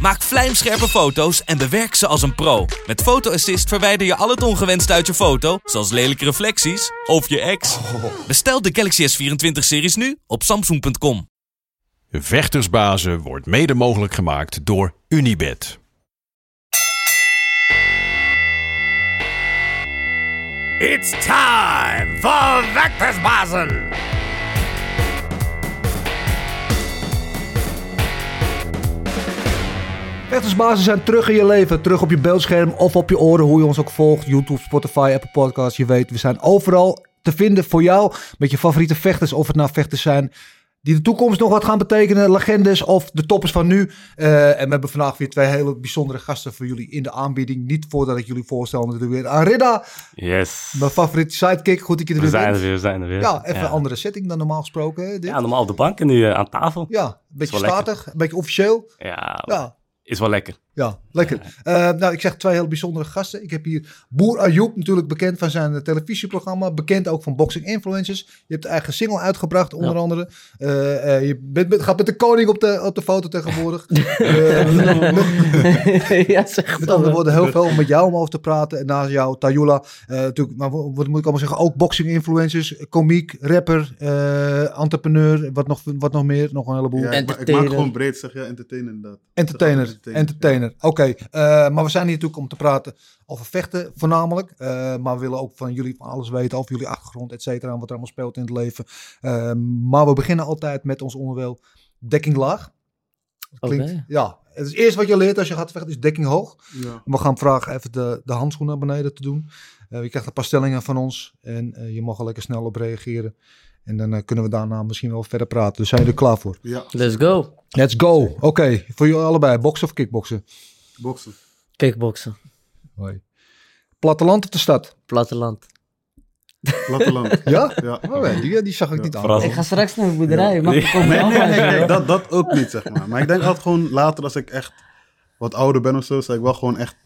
Maak vlijmscherpe foto's en bewerk ze als een pro. Met Photo Assist verwijder je al het ongewenst uit je foto, zoals lelijke reflecties of je ex. Bestel de Galaxy S24-series nu op samsung.com. Vechtersbazen wordt mede mogelijk gemaakt door Unibed. It's time for Vectorsbazen! Vechtersbazen zijn terug in je leven. Terug op je beeldscherm of op je oren, hoe je ons ook volgt. YouTube, Spotify, Apple Podcasts, je weet. We zijn overal te vinden voor jou met je favoriete vechters. Of het nou vechters zijn die de toekomst nog wat gaan betekenen. Legendes of de toppers van nu. Eh, en we hebben vandaag weer twee hele bijzondere gasten voor jullie in de aanbieding. Niet voordat ik jullie voorstel natuurlijk weer aan Ridda. Yes. Mijn favoriete sidekick. Goed dat je er We weer zijn bent. er weer, we zijn er weer. Ja, even ja. een andere setting dan normaal gesproken. hè, dit. Ja, normaal op de bank en nu eh, aan tafel. Ja, een beetje Is wel statig, een beetje officieel. Ja, Ja, is wel lekker. Ja, lekker. Eh, nou, ik zeg twee heel bijzondere gasten. Ik heb hier Boer Ayoub, natuurlijk bekend van zijn eh, televisieprogramma. Bekend ook van Boxing Influencers. Je hebt eigen single uitgebracht, onder andere. Eh, eh, je bent, met- gaat met de koning op de, op de foto tegenwoordig. Eh, met, ja, zeg met dan. andere woorden, heel veel om met jou om over te praten. En naast jou, Tayula. Eh, natuurlijk, maar wat wat moet ik allemaal zeggen? Ook Boxing Influencers, komiek, rapper, eh, entrepreneur. Wat nog, wat nog meer? Nog een heleboel. Ja, ik, ma- ik maak Entertainen. gewoon breed, zeg ja, entertainen inderdaad. Entertainer, Zeg altijd entertainer. Oké, eh, maar we zijn hier natuurlijk om te praten over vechten voornamelijk. Eh, maar we willen ook van jullie van alles weten, over jullie achtergrond, et cetera. en Wat er allemaal speelt in het leven. Eh, maar we beginnen altijd met ons onderdeel dekking laag. Oh, Oké. Ja, het is eerst wat je leert als je gaat vechten, is dekking hoog. Ja. We gaan vragen even de, de handschoenen naar beneden te doen. Eh, je krijgt een paar stellingen van ons en eh, je mag er lekker snel op reageren. En dan eh, kunnen we daarna misschien wel verder praten. Dus zijn jullie er klaar voor? ja, Let's go. Let's go. Oké, voor jullie allebei, boksen of kickboksen? boksen. Kickboksen. Hoi. Platteland of de stad? Platteland. Platteland. Ja? Ja. Oh, die, die zag ik Ja, niet aan. verrassend. Ik ga straks naar de boerderij. Mag ik komen? Nee, nee, nee, nee, dat, dat ook niet, zeg maar. Maar ik denk altijd gewoon later, als ik echt wat ouder ben of zo, zou ik wel gewoon echt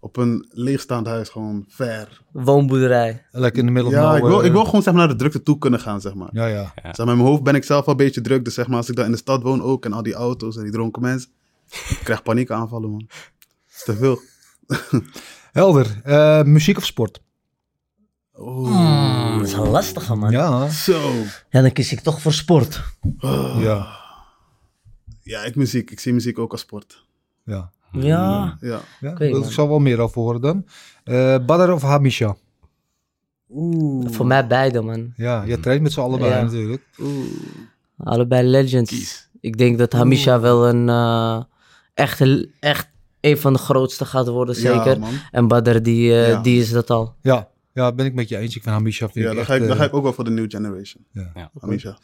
op een leegstaand huis gewoon ver. Woonboerderij. Eh, Lekker in de middel Ja, van ik wil, ik wil gewoon zeg maar, naar de drukte toe kunnen gaan, zeg maar. nou, eh, Ja, ja. Zeg maar. In mijn hoofd ben ik zelf al een beetje druk, dus zeg maar, als ik dan in de stad woon ook en al die auto's en die dronken mensen, ik krijg paniekaanvallen, man. Dat is te veel. Helder. Eh, muziek of sport? dat is wel lastig, man. Ja. Ja. Zo. dan kies ik toch voor sport. Ja. Ja, ik muziek. Ik zie muziek ook als sport. Ja. Ja. Ja. ja. Oké, ik man. zal wel meer over horen dan. Eh Badr of Hamisha? Oeh. Voor mij beide, man. Ja, je traint met z'n allebei Ja. natuurlijk. Allebei legends. Ik denk dat Hamisha wel een eh, echt, echt een van de grootste gaat worden, zeker. man. en Badr, die, eh, Ja. die is dat al. Ja. Ja, ben ik met je eens. Ik vind Hamisha vind ik Ja, dan echt... ga, ik, dan eh, ga ik ook wel voor de new generation. Ja. Ja. Amisha.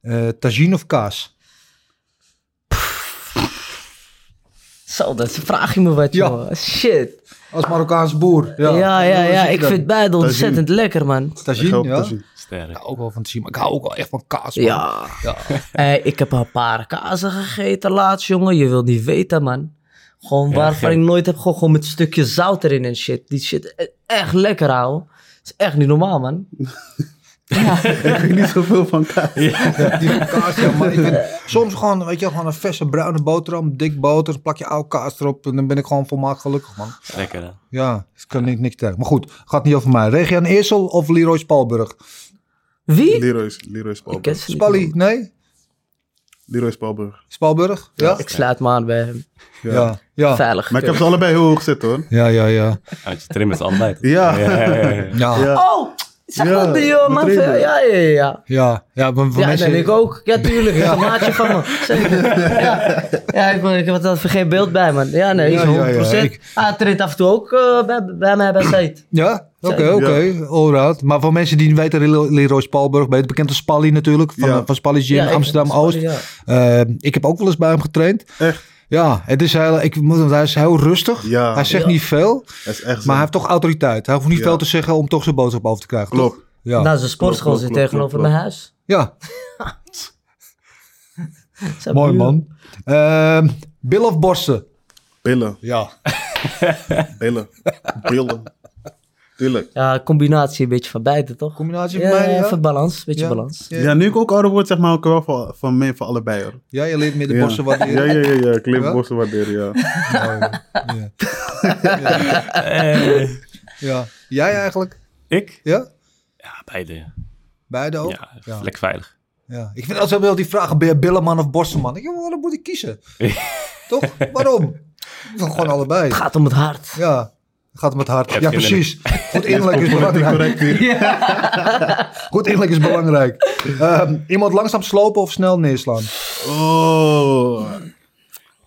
eh, tagine of kaas? Zo, dat vraag je me wat, Ja. joh. Shit. Als Marokkaans boer. Ja, Ja, ja, ja. Hoe zit je Ik dat? vind beide ontzettend lekker, man. Ik ga Tagine, ook ja. Tajin. Sterk. Ook wel van tagine, maar ik hou ook wel echt van kaas. man. Ja. Hey, ik heb een paar kazen gegeten laatst, jongen. Je wilt niet weten, man. Gewoon waarvan gek. ik nooit heb gegooid. Gewoon met een stukje zout erin en shit. Die shit e- echt lekker, ouwe. Het is echt niet normaal, man. Ik weet niet zoveel van kaas. Die van kaas, ja, maar ik vind soms gewoon, weet je, wel, gewoon een verse bruine boterham, dik boter, een plakje oude kaas erop en dan ben ik gewoon volmaakt gelukkig, man. Lekker, hè? Ja, ik kan niet, niks tegen. Maar goed, gaat niet over mij. Regian Eersel of Leroy Spalburg? Wie? Leroy's, Leroy's Ik ken Spalburg. ze niet, Spalli, man. nee? Leroy Spalburg. Spalburg? Ja? Ah, Ik sluit me aan bij hem. Ja, ja. Veilig. Maar ik heb ze allebei heel hoog zitten hoor. Ja, ja, ja. Uit je trim is allebei. toch? Ja. ja. Ja, Oh! Zeg Ja, dat die, joh, man. betreden. Ja, ja, ja. ja. ja. Ja, maar voor Ja, mensen... ben ik ook. Ja, tuurlijk. Een maatje van me. Zeker. Ja, ja ik, ben- ik heb er geen beeld bij, man. Ja, nee, Ja, is ja, 100%. ja, ik- Ah, het treedt af en toe ook eh, bij, bij mij bij Said. Ja? Oké, oké. Alright. Maar voor mensen die niet weten, Lero- Leroy Spalburg, beter bekend als Spalli natuurlijk, van, Ja. van Spalli Gym Ja, ik- Amsterdam-Oost. sorry, ja. Eh, ik heb ook wel eens bij hem getraind. Echt? Ja, het is heel, ik, moet- want hij is heel rustig. Ja. Hij zegt Ja. niet veel, Dat is echt maar zo. hij heeft toch autoriteit. Hij hoeft niet Ja. veel te zeggen om toch zijn boodschap over te krijgen. toch? Nou, Klopt. Ja. Naast de sportschool Klopt, zit klopt, tegenover klopt, mijn huis. ja. Mooi man. Ehm billen of borsten? Billen, Ja. billen, billen. Tuurlijk. Ja, combinatie een beetje van beide, toch? Combinatie Ja, van mij, ja. even balans, een beetje Ja. balans. Ja. Ja, nu ik ook ouder word, zeg maar, hou ik er wel van, van mee van allebei hoor. Ja, je leert meer de Ja. borsten wat Ja, ja, ja, ja. Ik leef Ja? borsten waarderen, ja. ja. Jij eigenlijk? Ik? Ja? Ja, beide. Beide ook? Ja, lekker veilig. Ja, ik vind altijd wel die vragen, ben je billenman of borstenman? Ik denk, joh, dan moet ik kiezen. Toch? Waarom? Gewoon allebei. Het gaat om het hart. Ja, gaat om het hart. Ja, hebt geen precies. Goed innerlijk is Politiek belangrijk. correct hier. Goed innerlijk is belangrijk. Ehm, iemand langzaam slopen of snel neerslaan? Oh.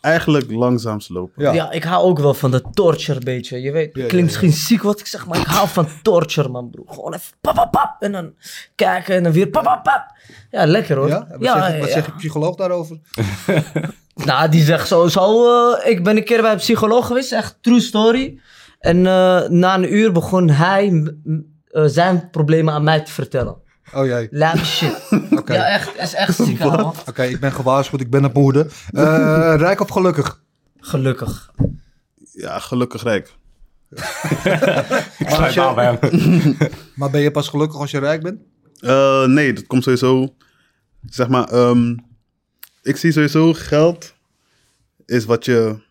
Eigenlijk langzaam slopen. Ja. Ja. ik hou ook wel van de torture beetje. Je weet, het Ja, klinkt ja, misschien ziek wat ik zeg, maar ik hou van torture, man, broer. Gewoon even pap, pap, pap. En dan kijken en dan weer pap, pap, pap. Ja, lekker hoor. Ja? Wat, zegt, wat ja. zegt je psycholoog daarover? Nou, die zegt sowieso... eh ik ben een keer bij een psycholoog geweest, echt true story. En eh, na een uur begon hij m- m- eh, zijn problemen aan mij te vertellen. Oh jee. Lame shit. Oké. Ja, echt, is echt ziek, man. Oké, ik ben gewaarschuwd, ik ben op mijn hoede. Eh, rijk of gelukkig? Gelukkig. Ja, gelukkig rijk. Ik sluit je- aan bij hem. Maar ben je pas gelukkig als je rijk bent? Eh, nee, dat komt sowieso. Zeg maar, ehm, ik zie sowieso geld is wat je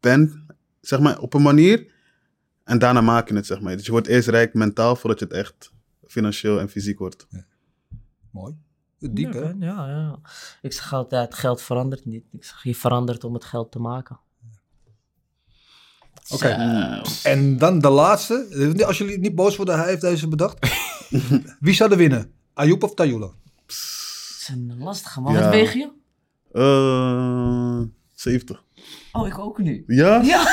bent, zeg maar, op een manier. En daarna maak je het, zeg maar. Dus je wordt eerst rijk mentaal voordat je het echt financieel en fysiek wordt. Mooi. Diep, hè? Ja, ja, ja. Ik zeg altijd, geld verandert niet. Ik zeg, je verandert om het geld te maken. eh, Oké. En dan de laatste. Eh, Als jullie niet boos worden, hij heeft deze bedacht. Wie zou er winnen? Ayoub of Tayula? Het is een lastige man. Ja. Wat weeg je? Eh 70. Oh, ik ook nu. Ja? Ja,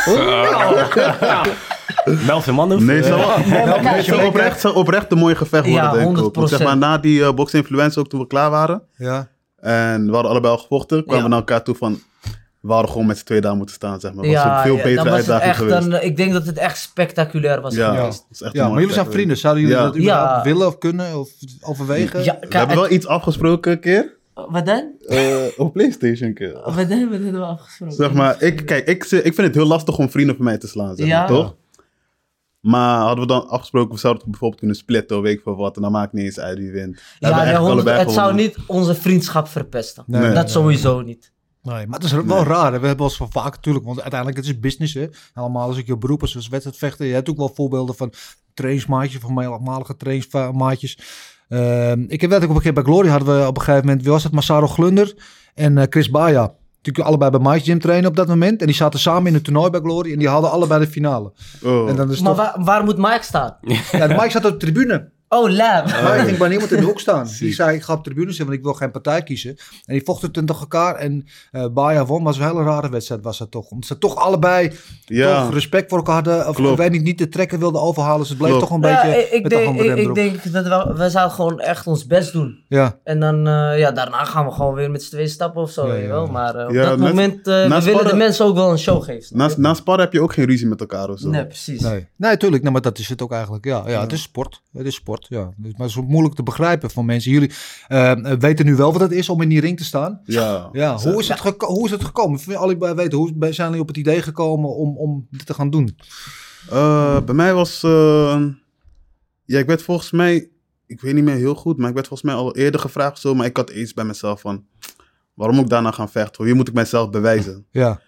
Melvin Manhoef. Eh, Nee, zo, maar nee, kijk, zo, je- oprecht, zo oprecht een mooie gevecht worden, Ja, denk ik ook. Want zeg maar, 100%. na die eh, box influencer ook toen we klaar waren. Ja. En we hadden allebei al gevochten. Kwamen Ja. we naar elkaar toe van... We hadden gewoon met z'n twee daar moeten staan, zeg maar. Dat was ja, een veel ja, betere dan was het uitdaging echt geweest. een- ik denk dat het echt spectaculair was. Ja, Ja. dat is echt een ja, mooie maar jullie zijn plek. vrienden. Zouden jullie Ja. dat überhaupt Ja. willen of kunnen of overwegen? Ja, We kijk, hebben wel iets afgesproken een keer. Wat dan? Oh, eh, op Playstation een keer. Wat dan? Wat dan hebben we afgesproken? Zeg maar, ik, kijk, ik, ik vind het heel lastig om vrienden van mij te slaan, zeg maar, Ja. toch? Maar hadden we dan afgesproken, we zouden het bijvoorbeeld kunnen splitten of weet ik veel wat. En dan maakt niet eens uit wie wint. ja, Hebben we nee, echt honderd- allebei het zou gewonnen. niet onze vriendschap verpesten. Nee. dat Nee. sowieso niet. Nee, maar het is wel raar. hè. We hebben ons van vaak, natuurlijk, want uiteindelijk het is business. Hè? Helemaal als ik je beroep als wedstrijdvechter. Je hebt ook wel voorbeelden van trainsmaatjes, van mij voormalige trainsmaatjes. Ehm, ik heb wel ook een keer bij Glory hadden we op een gegeven moment, wie was dat? Masaro Glunder en eh, Chris Baia. Natuurlijk allebei bij Mike Gym trainen op dat moment. En die zaten samen in het toernooi bij Glory en die hadden allebei de finale. Oh. En dan is Maar toch... waar, waar moet Mike staan? Ja, Mike zat op de tribune. Oh, lab. Maar Eh, ik ging bij niemand in de hoek staan. Die zei, ik ga op de tribune zitten, want ik wil geen partij kiezen. En die vochten toen tegen elkaar. En eh Baia won, maar zo'n hele rare wedstrijd was dat toch. Omdat ze toch allebei ja, toch respect voor elkaar hadden. Of Klopt. ik weet niet, niet de trekker wilden overhalen. Dus het bleef Klopt. toch een Ja, beetje ik, ik met de denk, handen ik, rem ik erop. denk dat we, we zouden gewoon echt ons best doen. Ja, En dan, eh, ja, daarna gaan we gewoon weer met z'n tweeën stappen of zo, Ja, weet je ja. wel. Maar eh, op Ja, dat net- moment, eh, we naast willen de sparren- mensen ook wel een show geven. snap na, je? na sparren heb je ook geen ruzie met elkaar of zo. Nee, precies. nee. Nee, tuurlijk. Nee, maar dat is het ook eigenlijk. Ja, ja, het is sport. Het is sport, ja. Dus- Maar het is moeilijk te begrijpen van mensen. Jullie eh, weten nu wel wat het is om in die ring te staan. Ja. Ja, hoe is het, geko- hoe is het gekomen? Ik wil allebei weten, hoe zijn jullie op het idee gekomen om, om dit te gaan doen? Eh, bij mij was. eh, ja, ik werd volgens mij. Ik weet niet meer heel goed, maar ik werd volgens mij al eerder gevraagd zo. Maar ik had iets bij mezelf van. Waarom moet ik daarna gaan vechten? hoor? Hier moet ik mijzelf bewijzen. Ja,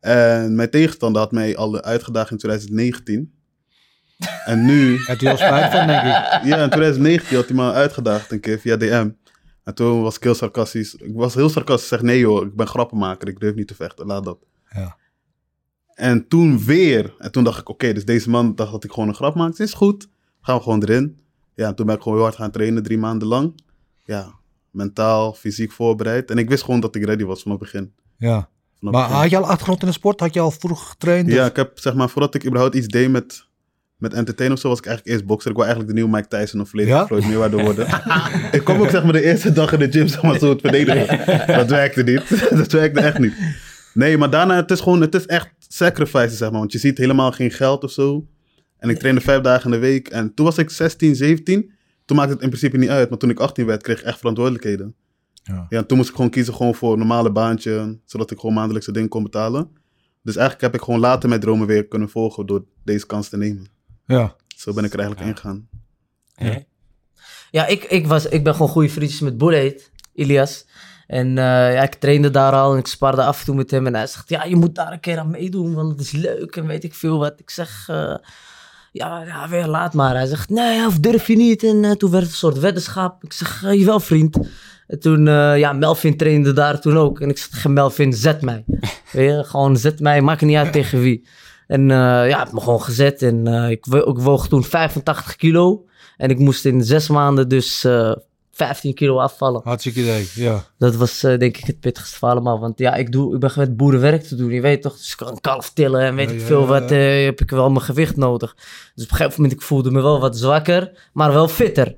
En mijn tegenstander had mij al uitgedaagd in 2019. En nu. het is heel spijt van, denk ik. Ja, in 2019 had hij me al uitgedaagd een keer via DM. En toen was ik heel sarcastisch. Ik was heel sarcastisch. Ik zeg, nee joh, ik ben grappenmaker. Ik durf niet te vechten. Laat dat. Ja. En toen weer. En toen dacht ik, oké, dus deze man dacht dat ik gewoon een grap maakte. Is goed. Gaan we gewoon erin. Ja, en toen ben ik gewoon heel hard gaan trainen. Drie maanden lang. Ja, mentaal, fysiek voorbereid. En ik wist gewoon dat ik ready was vanaf het begin. Ja. Vanaf Maar het begin. had je al achtergrond in de sport? Had je dus- al vroeg getraind? Ja, ik heb zeg maar, voordat ik überhaupt iets deed met, met entertainen of zo, was ik eigenlijk eerst bokser. Ik wou eigenlijk de nieuwe Mike Tyson of volledig Ja? Floyd Mayweather worden. ik kwam ook zeg maar de eerste dag in de gym zeg maar, zo het verdedigen. Dat werkte niet. dat werkte echt niet. Nee, maar daarna, het is gewoon, het is echt sacrifice, zeg maar. Want je ziet helemaal geen geld of zo. En ik trainde vijf dagen in de week. En toen was ik 16, 17. Toen maakte het in principe niet uit. Maar toen ik 18 werd, kreeg ik echt verantwoordelijkheden. Ja. Ja, toen moest ik gewoon kiezen gewoon voor een normale baantje, zodat ik gewoon maandelijkse dingen kon betalen. Dus eigenlijk heb ik gewoon later mijn dromen weer kunnen volgen door deze kans te nemen. Ja. Zo ben ik er eigenlijk ingegaan. Ja, ik, ik, was, ik ben gewoon goede vriendjes met Bullet, Ilias. En eh, ja, ik trainde daar al en ik sparde af en toe met hem. En hij zegt, ja, je moet daar een keer aan meedoen, want het is leuk en weet ik veel wat. Ik zeg, eh, ja, ja, weer laat maar. Hij zegt, nee, of durf je niet. En eh, toen werd het een soort weddenschap. Ik zeg, je jawel vriend. En toen, eh, ja, Melvin trainde daar toen ook. En ik zeg tegen Melvin, zet mij. Weet je, gewoon zet mij, maakt niet uit tegen wie. En eh, ja, het me gewoon gezet. En eh, ik, wo- ik woog toen 85 kilo. En ik moest in zes maanden dus eh, 15 kilo afvallen. Hartstikke idee. Ja. Dat was eh, denk ik het pittigste van allemaal. Want ja, ik, doe, ik ben gewend boerenwerk te doen. Je weet toch, dus ik kan een kalf tillen en weet Ja, ik ja, veel ja, wat. eh, heb ik wel mijn gewicht nodig. Dus op een gegeven moment ik voelde me wel wat zwakker, maar wel fitter.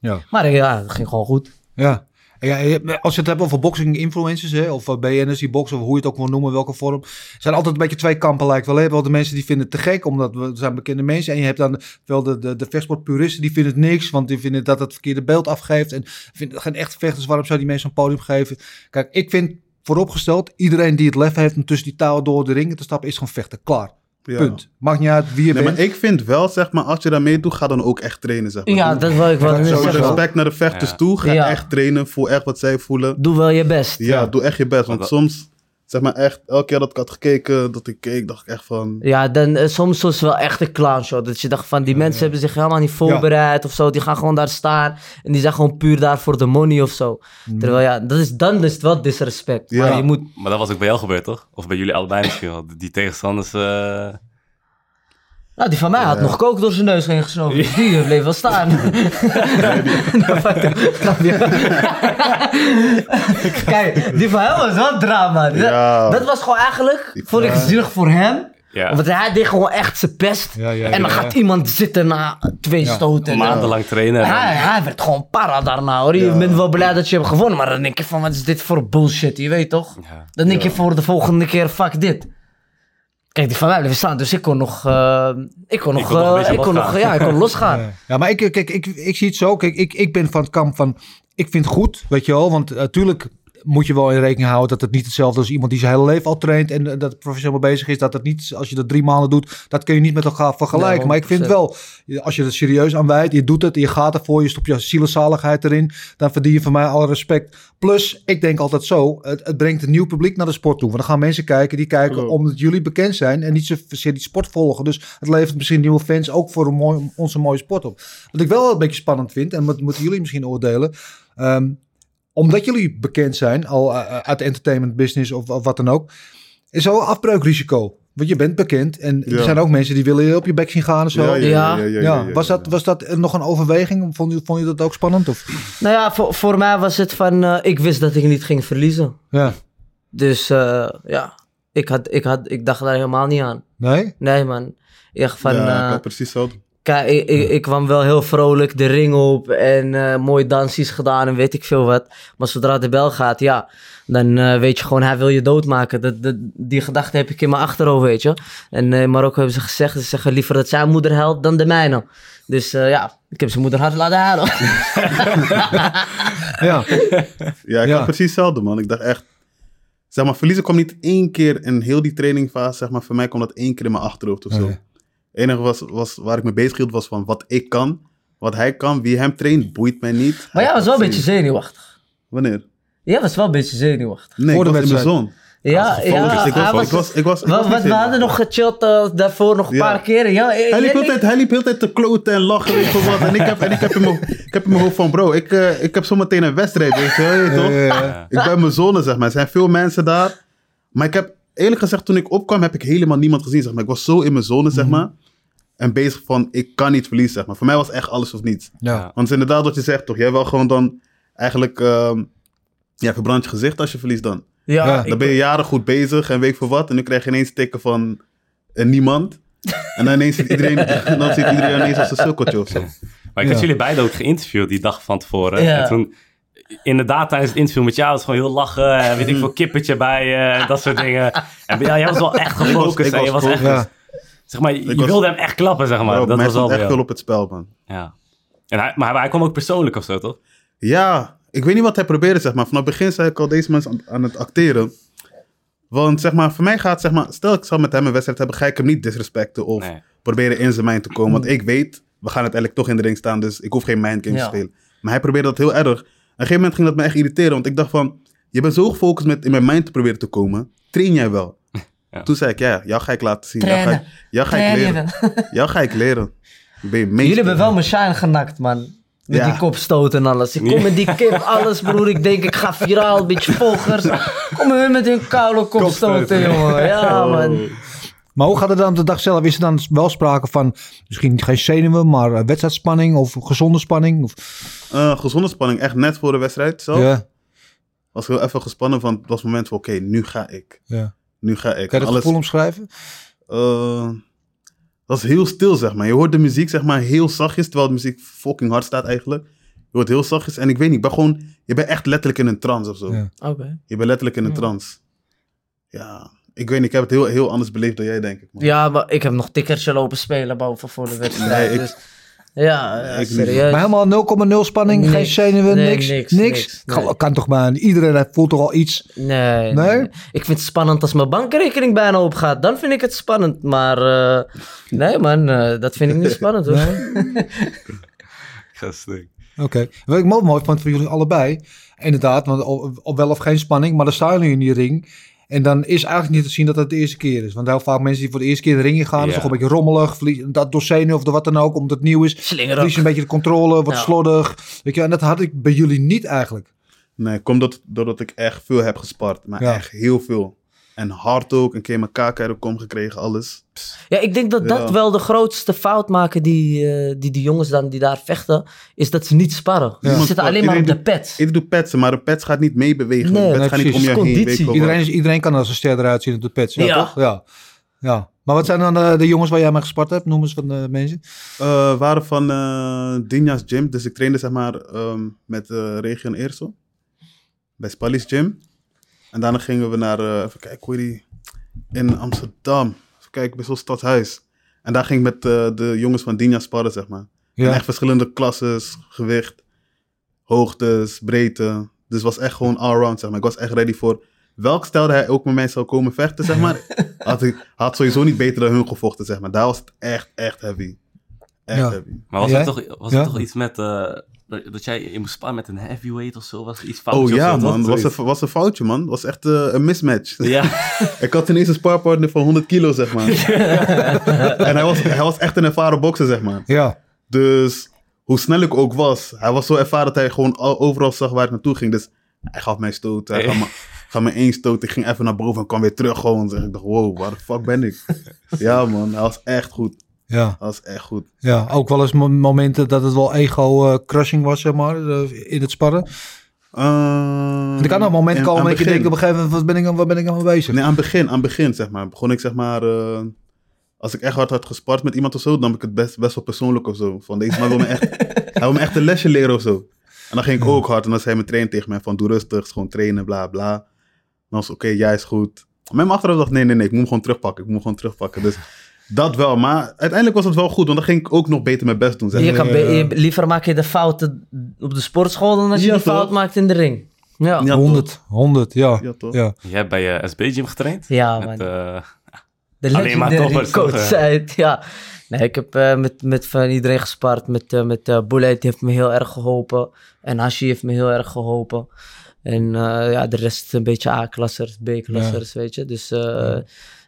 Ja. Maar eh, ja, het ging gewoon goed. Ja. En ja, je hebt- als je het hebt over boxing influencers, hè, of eh, BN'ers die boxen, of hoe je het ook wil noemen, welke vorm. zijn altijd een beetje twee kampen lijkt wel. hè. Je hebt wel de mensen die vinden het te gek, omdat we het zijn bekende mensen. En je hebt dan wel de, de, de vechtsportpuristen, die vinden het niks, want die vinden dat het verkeerde beeld afgeeft. En vinden het geen echte vechters, waarom zou die mensen een podium geven? Kijk, ik vind vooropgesteld, iedereen die het lef heeft om tussen die touwen door de ringen te stappen, is gewoon vechten. Klaar. Ja. Punt. Maakt niet uit wie je Nee, bent. maar ik vind wel, zeg maar, als je daarmee doet, ga dan ook echt trainen, zeg maar. Ja, dat wil ik wel dat is net Met sowieso. zeggen. respect naar de vechters Ja. toe, ga Ja. echt trainen, voel echt wat zij voelen. Doe wel je best. Ja, doe echt je best. Want Want soms, zeg maar echt, elke keer dat ik had gekeken, dat ik keek, dacht ik echt van... Ja, dan eh, soms was het wel echt een clownshow. Dat je dacht van, die mensen hebben zich helemaal niet voorbereid of zo. Die gaan gewoon daar staan en die zijn gewoon puur daar voor de money of zo. Mm. Terwijl ja, dat is, dan is het wel disrespect. Ja. Maar je moet... Maar dat was ook bij jou gebeurd, toch? Of bij jullie allebei misschien wel. Die tegenstanders... eh, Nou, die van mij had nog kook door zijn neus heen gesnoven. Die bleef wel staan. Nou, fuck dat. Grapje. Kijk, die van hem was wel drama. Dat- Ja. Dat was gewoon eigenlijk, vond ik zielig voor hem. ja, Want hij deed gewoon echt zijn best. Ja, ja, en dan ja, gaat ja. iemand zitten na twee Ja. stoten. En dan- maandenlang trainen. Ah, en dan- Hij, hij werd gewoon para daarna hoor. Je bent wel blij dat je hebt gewonnen, maar dan denk je van wat is dit voor bullshit, je weet toch? Ja. Dan denk je voor de volgende keer fuck dit. Kijk, die van mij bleef staan, dus ik kon nog, eh, ik kon nog, kon nog een eh, beetje ik kon nog, losgaan. ja, ik kon losgaan. Eh, Ja. Ja, maar ik, kijk, ik, ik zie het zo. Kijk, ik, ik ben van het kamp van... Ik vind het goed, weet je wel. Want natuurlijk moet je wel in rekening houden... dat het niet hetzelfde is als iemand die zijn hele leven al traint... en eh, dat professioneel mee bezig is. Dat het niet, als je dat drie maanden doet... dat kun je niet met elkaar vergelijken. Nee, maar ik vind wel, als je het serieus aanwijdt... je doet het, je gaat ervoor, je stopt je zielenzaligheid erin... dan verdien je van mij alle respect. Plus, ik denk altijd zo... het, het brengt een nieuw publiek naar de sport toe. Want dan gaan mensen kijken die kijken Klopt. omdat jullie bekend zijn... en niet zozeer die sport volgen. Dus het levert misschien nieuwe fans... ook voor een mooi, onze mooie sport op. Wat ik wel een beetje spannend vind, en dat moeten jullie misschien oordelen. ehm, omdat jullie bekend zijn, al eh, eh, uit de entertainment business of, of wat dan ook, is er wel een afbreukrisico. Want je bent bekend en er Ja. zijn ook mensen die willen je op je bek zien gaan en zo. Ja, Ja. was, dat, was dat eh, nog een overweging? Vond je, vond je dat ook spannend? Of? Nou ja, voor, voor mij was het van, eh, ik wist dat ik niet ging verliezen. Ja. Dus eh, ja, ik, had, ik, had, ik dacht daar helemaal niet aan. Nee? Nee man, echt van... ja, ik eh, had precies zo. Kijk, ik, ik, ik kwam wel heel vrolijk de ring op en eh mooie dansjes gedaan en weet ik veel wat. Maar zodra de bel gaat, ja, dan eh, weet je gewoon, hij wil je doodmaken. Dat, dat, die gedachte heb ik in mijn achterhoofd, weet je. En eh, in Marokko hebben ze gezegd, ze zeggen liever dat zijn moeder helpt dan de mijne. Dus eh, ja, ik heb zijn moeder hard laten halen. Ja. Ja, ik Ja. had precies hetzelfde, man. Ik dacht echt... Zeg maar, verliezen kwam niet één keer in heel die trainingfase. Zeg maar, voor mij kwam dat één keer in mijn achterhoofd of zo. Oké. Het enige was, was, waar ik mee bezig hield was van wat ik kan. Wat hij kan, wie hem traint, boeit mij niet. Maar jij Hij was wel een gaat beetje zien. zenuwachtig. Wanneer? Jij was wel een beetje zenuwachtig. Nee, Voor ik de was in mijn wedstrijd. zon. Ja, ja. Dus ik hij was, was- ik was, ik was, ik was Wat, niet wat, we zenuwachtig. hadden nog gechillt eh, daarvoor nog een Ja. paar keren. Ja, eh, Hij liep, jij- altijd, hij liep heel tijd te kloten en lachen, weet je wat. En ik heb, en ik heb, in, mijn, ik heb in mijn hoofd van, bro, ik, eh, ik heb zometeen een wedstrijd, weet je, wel, je weet Ja, toch? ja, ja. Ik ben mijn zone, zeg maar. Er zijn veel mensen daar. Maar ik heb, eerlijk gezegd, toen ik opkwam, heb ik helemaal niemand gezien, zeg maar. Ik was zo in mijn zone, Mhm. zeg maar. En bezig van, ik kan niet verliezen, zeg maar. Voor mij was echt alles of niets. Ja. Want het is inderdaad wat je zegt, toch? Jij wil gewoon dan eigenlijk... ehm, ja, verbrand je gezicht als je verliest dan. Ja, Ja, ik- Dan ben je jaren goed bezig en weet ik voor wat. En nu krijg je ineens tikken van eh, niemand. En dan ineens ziet iedereen, dan ziet iedereen ineens als een sukkeltje of zo. Maar ik had Ja. jullie beiden ook geïnterviewd die dag van tevoren. Ja. En toen, inderdaad, tijdens het interview met jou was het gewoon heel lachen. en Weet ik veel, kippetje bij eh, en dat soort dingen. En bij jou, jij was wel echt Ik was- gefocust. ik hè. Je was was echt, Ja. zeg maar, je was- wilde hem echt klappen, zeg maar. Bro, dat mij was stond wel bij echt jou. veel op het spel, man. Ja. En hij, maar hij kwam ook persoonlijk of zo, toch? Ja, ik ik weet niet wat hij probeerde, zeg maar. Vanaf het begin zei ik al, deze mensen aan, aan het acteren. Want zeg maar, voor mij gaat, zeg maar, stel ik zou met hem een wedstrijd hebben, ga ik hem niet disrespecten of Nee. proberen in zijn mijn te komen. Want ik weet, we gaan uiteindelijk toch in de ring staan, dus ik hoef geen mindgame te Ja. spelen. Maar hij probeerde dat heel erg. Op een gegeven moment ging dat me echt irriteren, want ik dacht van, je bent zo gefocust met in mijn mind te proberen te komen, train jij wel. Ja. Toen zei ik, ja, jou ga ik laten zien. Jou ga ik, Trainen. jou ga ik Trainen. leren. Jou ga ik leren. Ik Ben je meester. Jullie hebben wel mijn shine genakt, man. Met Ja. die kopstoten en alles. Ik kom met die kip, alles broer. Ik denk, ik ga viraal, beetje volgers. Kom hun met hun koude kopstoten, jongen. Ja, Oh. man. Maar hoe gaat het dan op de dag zelf? Is er dan wel sprake van misschien geen zenuwen, maar eh, wedstrijdspanning of gezonde spanning? Of, Eh, gezonde spanning, echt net voor de wedstrijd zelf. ja, was heel even gespannen van het was het moment van oké, nu ga ik. ja. Nu ga ik. Kan je dat Alles, gevoel omschrijven? eh, dat is heel stil, zeg maar. Je hoort de muziek, zeg maar, heel zachtjes, terwijl de muziek fucking hard staat eigenlijk. Je hoort heel zachtjes en ik weet niet, ik ben gewoon, je bent echt letterlijk in een trance of zo. Ja. Oké. Je bent letterlijk in een trance. Ja, ik weet niet, ik heb het heel, heel anders beleefd dan jij, denk ik. man. Ja, maar ik heb nog tikkertje lopen spelen boven voor de wedstrijd. Nee, ik- dus, ja, ja, ik niet. serieus. Maar helemaal 0,0 spanning, geen Dus- Niks. zenuwen, Nee, niks, niks. niks, niks, Kan, nee. kan toch maar, iedereen voelt toch al iets. Nee, Nee? nee? nee. Ik vind het spannend als mijn bankrekening bijna opgaat. Dan vind ik het spannend. Maar eh, nee, man, eh, dat vind ik niet spannend hoor. Oké. Wat ik ook mooi vond voor jullie allebei, inderdaad, want op, op wel of geen spanning, maar dan staan jullie in die ring. En dan is eigenlijk niet te zien dat het de eerste keer is. Want heel vaak mensen die voor de eerste keer de ring in gaan, Ja. is toch een beetje rommelig, verlie- dat door zenuw of door wat dan ook, omdat het nieuw is. Slinger ook. Verlies je een beetje de controle, wordt Ja. slordig. Weet je, en dat had ik bij jullie niet eigenlijk. Nee, komt dat, doordat ik echt veel heb gespart. Maar Ja. echt heel veel. En hard ook, een keer mijn kaak uit de kom gekregen, alles. Ja, ik denk dat dat Ja. wel de grootste fout maken die, eh, die die jongens dan die daar vechten, is dat ze niet sparren. Ze Niemand zitten spart. alleen maar op de Iedereen pet. Ik doe petsen, maar de pets gaat niet meebewegen. Nee, de pets nee, gaat niet om precies. jou heen. Conditie. weet je wel wat. Iedereen, is, iedereen kan als een ster eruit zien op de pets. Ja, Ja. toch? Ja. ja. Maar wat zijn dan eh, de jongens waar jij mee gespart hebt? Noem eens van de mensen. Eh, waren van eh Dinja's Gym. Dus ik trainde zeg maar ehm, met eh Region Eersel. Bij Spallies Gym. En daarna gingen we naar, eh, even kijken hoe die, in Amsterdam. Even kijken, bij zo'n stadhuis. En daar ging ik met eh, de jongens van Dinja sparren, zeg maar. En Ja. echt verschillende klasses, gewicht, hoogtes, breedte. Dus was echt gewoon allround, zeg maar. Ik was echt ready voor welk stijl hij ook met mij zou komen vechten, zeg maar. had, ik, had sowieso niet beter dan hun gevochten, zeg maar. Daar was het echt, echt heavy. Echt Ja. heavy. Maar was Jij? er toch, was Ja? er toch iets met... eh, dat dat jij je moest spannen met een heavyweight of zo? Was er iets fout? Oh ja, man. Was een, was een foutje, man. Was echt eh, een mismatch. Ja, ik had ineens een sparpartner van 100 kilo, zeg maar. en hij was, hij was echt een ervaren bokser, zeg maar. Ja. Dus hoe snel ik ook was, hij was zo ervaren dat hij gewoon al- overal zag waar ik naartoe ging. Dus hij gaf mij stoot, hij gaf me, gaf me één stoot. Ik ging even naar boven en kwam weer terug gewoon. Zeg ik dacht, wow, waar de fuck ben ik? ja man, hij was echt goed. ja. Hij was echt goed. Ja, ook wel eens mo- momenten dat het wel ego-crushing was, zeg maar, eh, in het sparren. Ehm, Want er kan een moment en komen Ehm, aan dat je begin- denkt op een gegeven moment, wat ben ik, aan- waar ben ik aan bezig? Nee, aan het begin, aan het begin zeg maar. Begon ik zeg maar, eh, als ik echt hard had gespart met iemand of zo, nam ik het best, best wel persoonlijk of zo. Van deze man wil me echt, hij wil me echt een lesje leren of zo. En dan ging ik ook hard en dan zei mijn trainer tegen mij van doe rustig, is gewoon trainen, bla bla. En dan was het, oké, jij is goed. Maar mijn achteraf dacht nee, nee, nee, ik moet hem gewoon terugpakken, ik moet hem gewoon terugpakken. Dus dat wel, maar uiteindelijk was het wel goed, want dan ging ik ook nog beter mijn best doen. Zeg. Je maar. kan be- je- liever maak je de fouten op de sportschool dan als je eh, Ja, die fout toch? maakt in de ring. Ja, ja, Ja, 100, 100, ja. Ja, toch? ja. jij hebt bij eh, je SB-gym getraind? man. Met, eh, de alleen maar legendary toppers, coach toch, hè? zei het, ja. Nee, ik heb eh, met, met van iedereen gespart. Met, eh, met eh Bullet, die heeft me heel erg geholpen. En Hashi heeft me heel erg geholpen. En eh, ja, de rest een beetje A-klassers, B-klassers, weet je. Dus eh,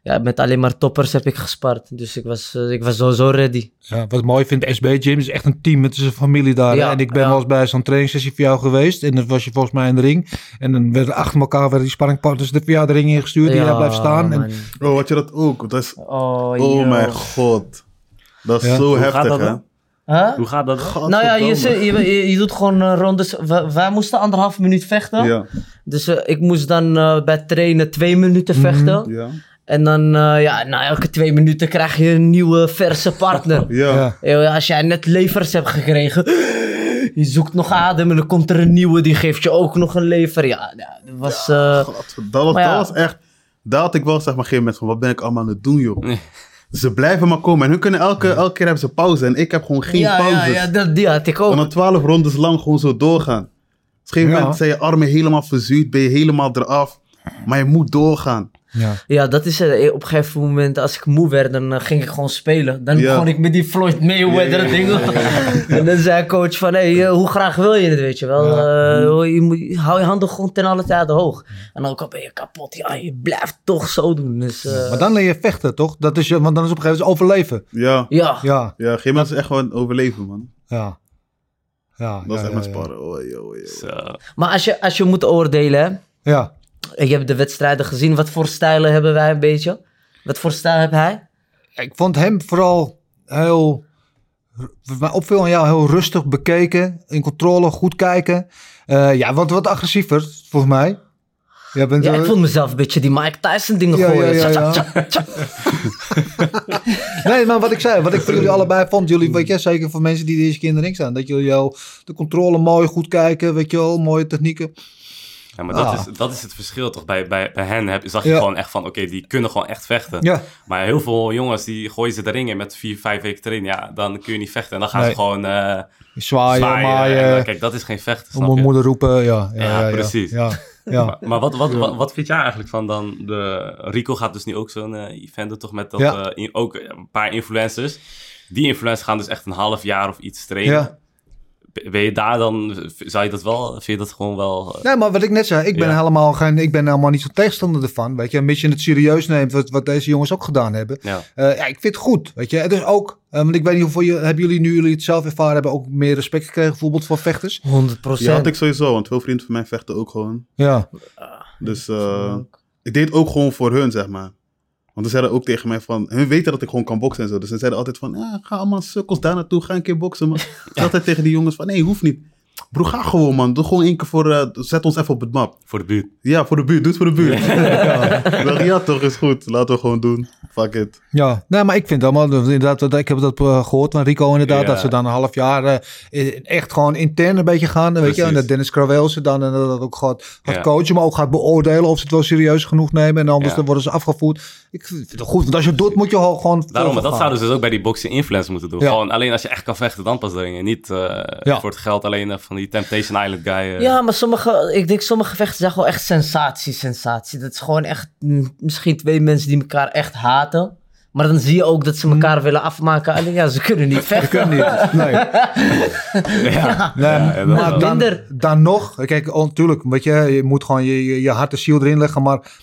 ja, met alleen maar toppers heb ik gespart. Dus ik was, eh, ik was sowieso ready. Ja, wat ik mooi vind, SB Gym is echt een team. Het is een familie daar. hè. Ja, en ik ben ja. wel eens bij zo'n trainingssessie voor jou geweest. En dan was je volgens mij in de ring. En dan werden achter elkaar werden die sparringpartners de, voor jou de ring ingestuurd. die ja, daar blijft staan. En, man. Oh, had je dat ook? Dat is, Oh, oh joh. mijn god. Dat is Ja. zo Hoe gaat heftig, dat hè? dan? Huh? hoe gaat dat? Nou ja, je, Godverdomme. zit- je, je, je doet gewoon eh, rondes. Wij, wij moesten anderhalf minuut vechten. Ja, Dus eh, ik moest dan eh, bij trainen twee minuten vechten. ja, En dan, eh, ja, na elke twee minuten krijg je een nieuwe, verse partner. ja. ja. Yo, Als jij net levers hebt gekregen, je zoekt nog adem en dan komt er een nieuwe, die geeft je ook nog een lever. Ja, ja, dat was... eh, Godver- Dat was, Maar ja. dat was echt. Daar had ik wel zeg maar op een gegeven moment van: wat ben ik allemaal aan het doen, joh? Nee. Ze blijven maar komen. En hun kunnen elke, elke keer hebben ze pauze. En ik heb gewoon geen ja, dus- pauzes. ja, ja, dat, die had ik En ook. dan twaalf rondes lang gewoon zo doorgaan. een gegeven Ja. moment zijn je armen helemaal verzuurd, ben je helemaal eraf. Maar je moet doorgaan. Ja. Ja, dat is het. Op een gegeven moment, als ik moe werd, dan eh, ging ik gewoon spelen. Dan Ja. begon ik met die Floyd Mayweather Ja, ja, ding. En dan zei coach van, hé, eh, hoe graag wil je het, weet je wel. Eh, hoor, je moet, hou je handen gewoon ten alle tijde hoog. En ook al ben je kapot, ja, je blijft toch zo doen. Dus, eh, Maar dan leer je vechten, toch? Dat is, je- want dan is op een gegeven moment overleven. Ja, ja. ja. Ja, op een gegeven moment is echt gewoon overleven, man. ja. ja Dat ja, is echt ja, met sparren. Oh, joh, joh. Maar als je, als je moet oordelen, hè, Ja. Ja. en je hebt de wedstrijden gezien, wat voor stijlen hebben wij een beetje? Wat voor stijl heb hij? Ik vond hem vooral heel... Wat mij opviel aan jou, heel rustig bekeken. In controle, goed kijken. Eh, ja, wat, wat agressiever, volgens mij. Jij bent Ja, wel- ik vond mezelf een beetje die Mike Tyson dingen Ja, gooien. ja, ja, ja. Tja, tja, tja, tja. Nee, maar wat ik zei, wat ik voor jullie allebei vond, jullie, weet je, zeker voor mensen die de eerste keer in de ring staan, dat jullie jou de controle mooi goed kijken, weet je wel, mooie technieken. Ja, maar dat, Ah. is, dat is het verschil toch. Bij, bij, bij hen heb, zag je Ja. gewoon echt van, oké, die kunnen gewoon echt vechten. Ja, Maar heel veel jongens, die gooien ze de ring in met vier, vijf weken training. Ja, dan kun je niet vechten. En dan gaan Nee. Ah, ze gewoon eh zwaaien, zwaaien. En dan- maaien, kijk, dat is geen vechten, eh, om snap mijn je? moeder roepen, ja. Ja, Ja, precies. Ja, ja. Maar, maar wat, wat, wat, wat vind jij eigenlijk van dan? De, Rico gaat dus nu ook zo'n eh, event doen, toch met dat, Ja. eh, in- ook een paar influencers. Die influencers gaan dus echt een half jaar of iets trainen. Ja. B- Ben je daar dan, zou je dat wel, vind je dat gewoon wel... eh, Nee, maar wat ik net zei, ik ben Ja. helemaal geen, ik ben helemaal niet zo'n tegenstander ervan, weet je. Een beetje het serieus neemt, wat, wat deze jongens ook gedaan hebben. ja. Eh, ja, ik vind het goed, weet je. Het is ook, eh, want ik weet niet hoeveel je, hebben jullie nu jullie het zelf ervaren hebben, ook meer respect gekregen bijvoorbeeld voor vechters? 100 Ja, had procent. ik sowieso, want veel vrienden van mij vechten ook gewoon. Ja, Dus eh, ik deed het ook gewoon voor hun, zeg maar. Want ze zeiden ook tegen mij van, hun weten dat ik gewoon kan boksen en zo. Dus ze zeiden altijd van, ja, ga allemaal sukkels daar naartoe, ga een keer boksen. Maar ik zei altijd tegen die jongens van, nee, hoeft niet. Bro, ga gewoon man, doe gewoon één keer voor, eh, zet ons even op het map. Voor de buurt. Ja, voor de buurt, doe het voor de buurt. Ja, Ik dacht, ja toch, is goed, laten we gewoon doen. Fuck it. Ja, nee, maar ik vind allemaal, inderdaad, dat- ik heb dat eh, gehoord van Rico inderdaad, Ja. dat ze dan een half jaar eh, echt gewoon intern een beetje gaan, weet je, Precies. en dat Dennis Krawel ze dan en dat ook gaat, gaat Ja. coachen, maar ook gaat beoordelen of ze het wel serieus genoeg nemen en anders Ja. dan worden ze afgevoerd. Ik vind het goed, want als je het doet, moet je ho- gewoon Daarom, maar dat volgen gaan. zouden ze dus ook bij die boxing influence moeten doen. Ja. Gewoon alleen als je echt kan vechten, dan pas erin. En niet eh, Ja. voor het geld alleen eh, van die Temptation Island guy. eh. Ja, maar sommige, ik denk sommige gevechten zijn gewoon echt sensatie, sensatie. Dat is gewoon echt mm, misschien twee mensen die elkaar echt haten. Maar dan zie je ook dat ze elkaar willen afmaken. Alleen ja, ze kunnen niet vechten. Kan niet, nee. Ja. Nee, Ja, en dat maar is dan, Minder. dan nog, kijk, oh, natuurlijk, weet je, je moet gewoon je, je, je hart en ziel erin leggen, maar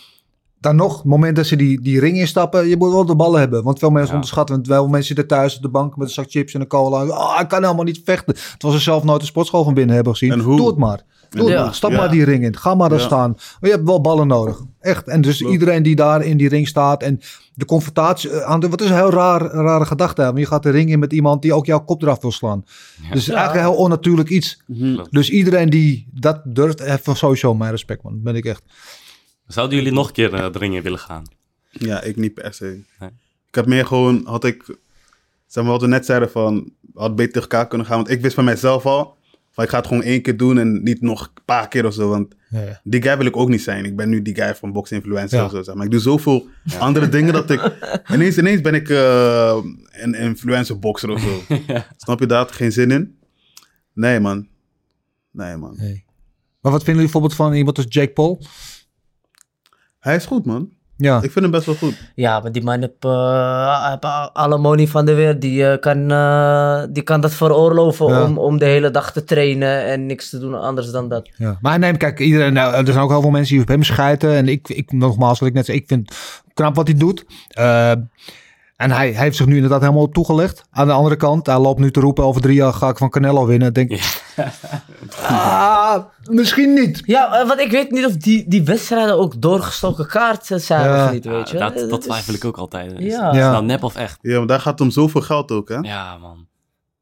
dan nog, het moment dat ze die, die ring instappen, je moet wel de ballen hebben. Want veel mensen Ja. onderschatten, want veel mensen zitten thuis op de bank met een zak chips en een cola. Oh, ik kan helemaal niet vechten. Terwijl ze zelf nooit de sportschool van binnen hebben gezien. En hoe? Doe het maar. Doe het Ja. maar. Stap Ja. maar die ring in. Ga maar daar Ja. staan. Maar je hebt wel ballen nodig. Echt. En dus Klopt. iedereen die daar in die ring staat en de confrontatie eh, aan de, wat is een heel raar, rare gedachte. hè? Want je gaat de ring in met iemand die ook jouw kop eraf wil slaan. Dus het is eigenlijk een heel onnatuurlijk iets. Mhm. Dus iedereen die dat durft, heeft sowieso mijn respect, man. Dat ben ik echt. Zouden jullie nog een keer eh, dringen willen gaan? Ja, ik niet per se. Nee. Ik had meer gewoon, had ik, zeg maar wat we net zeiden van, we hadden beter tegen elkaar kunnen gaan. Want ik wist van mijzelf al, van ik ga het gewoon één keer doen en niet nog een paar keer of zo. Want Ja, ja. die guy wil ik ook niet zijn. Ik ben nu die guy van box influencer Ja. of zo. Zeg maar. Ik doe zoveel andere dingen dat ik, ineens, ineens ben ik eh, een influencer boxer of zo. Snap je dat? Geen zin in? Nee man. Nee man. Maar wat vinden jullie bijvoorbeeld van iemand als Jake Paul? Hij is goed man. Ja, Ik vind hem best wel goed. Ja, maar die man heeft eh, heeft alle money van de wereld. Die, eh, kan, eh, die kan dat veroorloven Ja. om, om de hele dag te trainen en niks te doen anders dan dat. ja. Maar neem, kijk, iedereen, nou, er zijn ook heel veel mensen die op hem schijten. En ik, ik nogmaals, wat ik net zei, ik vind knap wat hij doet. Eh, en hij, hij heeft zich nu inderdaad helemaal op toegelegd. Aan de andere kant, hij loopt nu te roepen, over drie jaar ga ik van Canelo winnen. Ik Denk, ah, misschien niet. Ja, eh, want ik weet niet of die, die wedstrijden ook doorgestoken kaart eh, zijn Ja. of niet, weet je. Eh, Ja, dat, dat is- twijfel ik ook altijd. Is, Ja. is Ja. het nou nep of echt? Ja, maar daar gaat het om zoveel geld ook hè. Ja, man.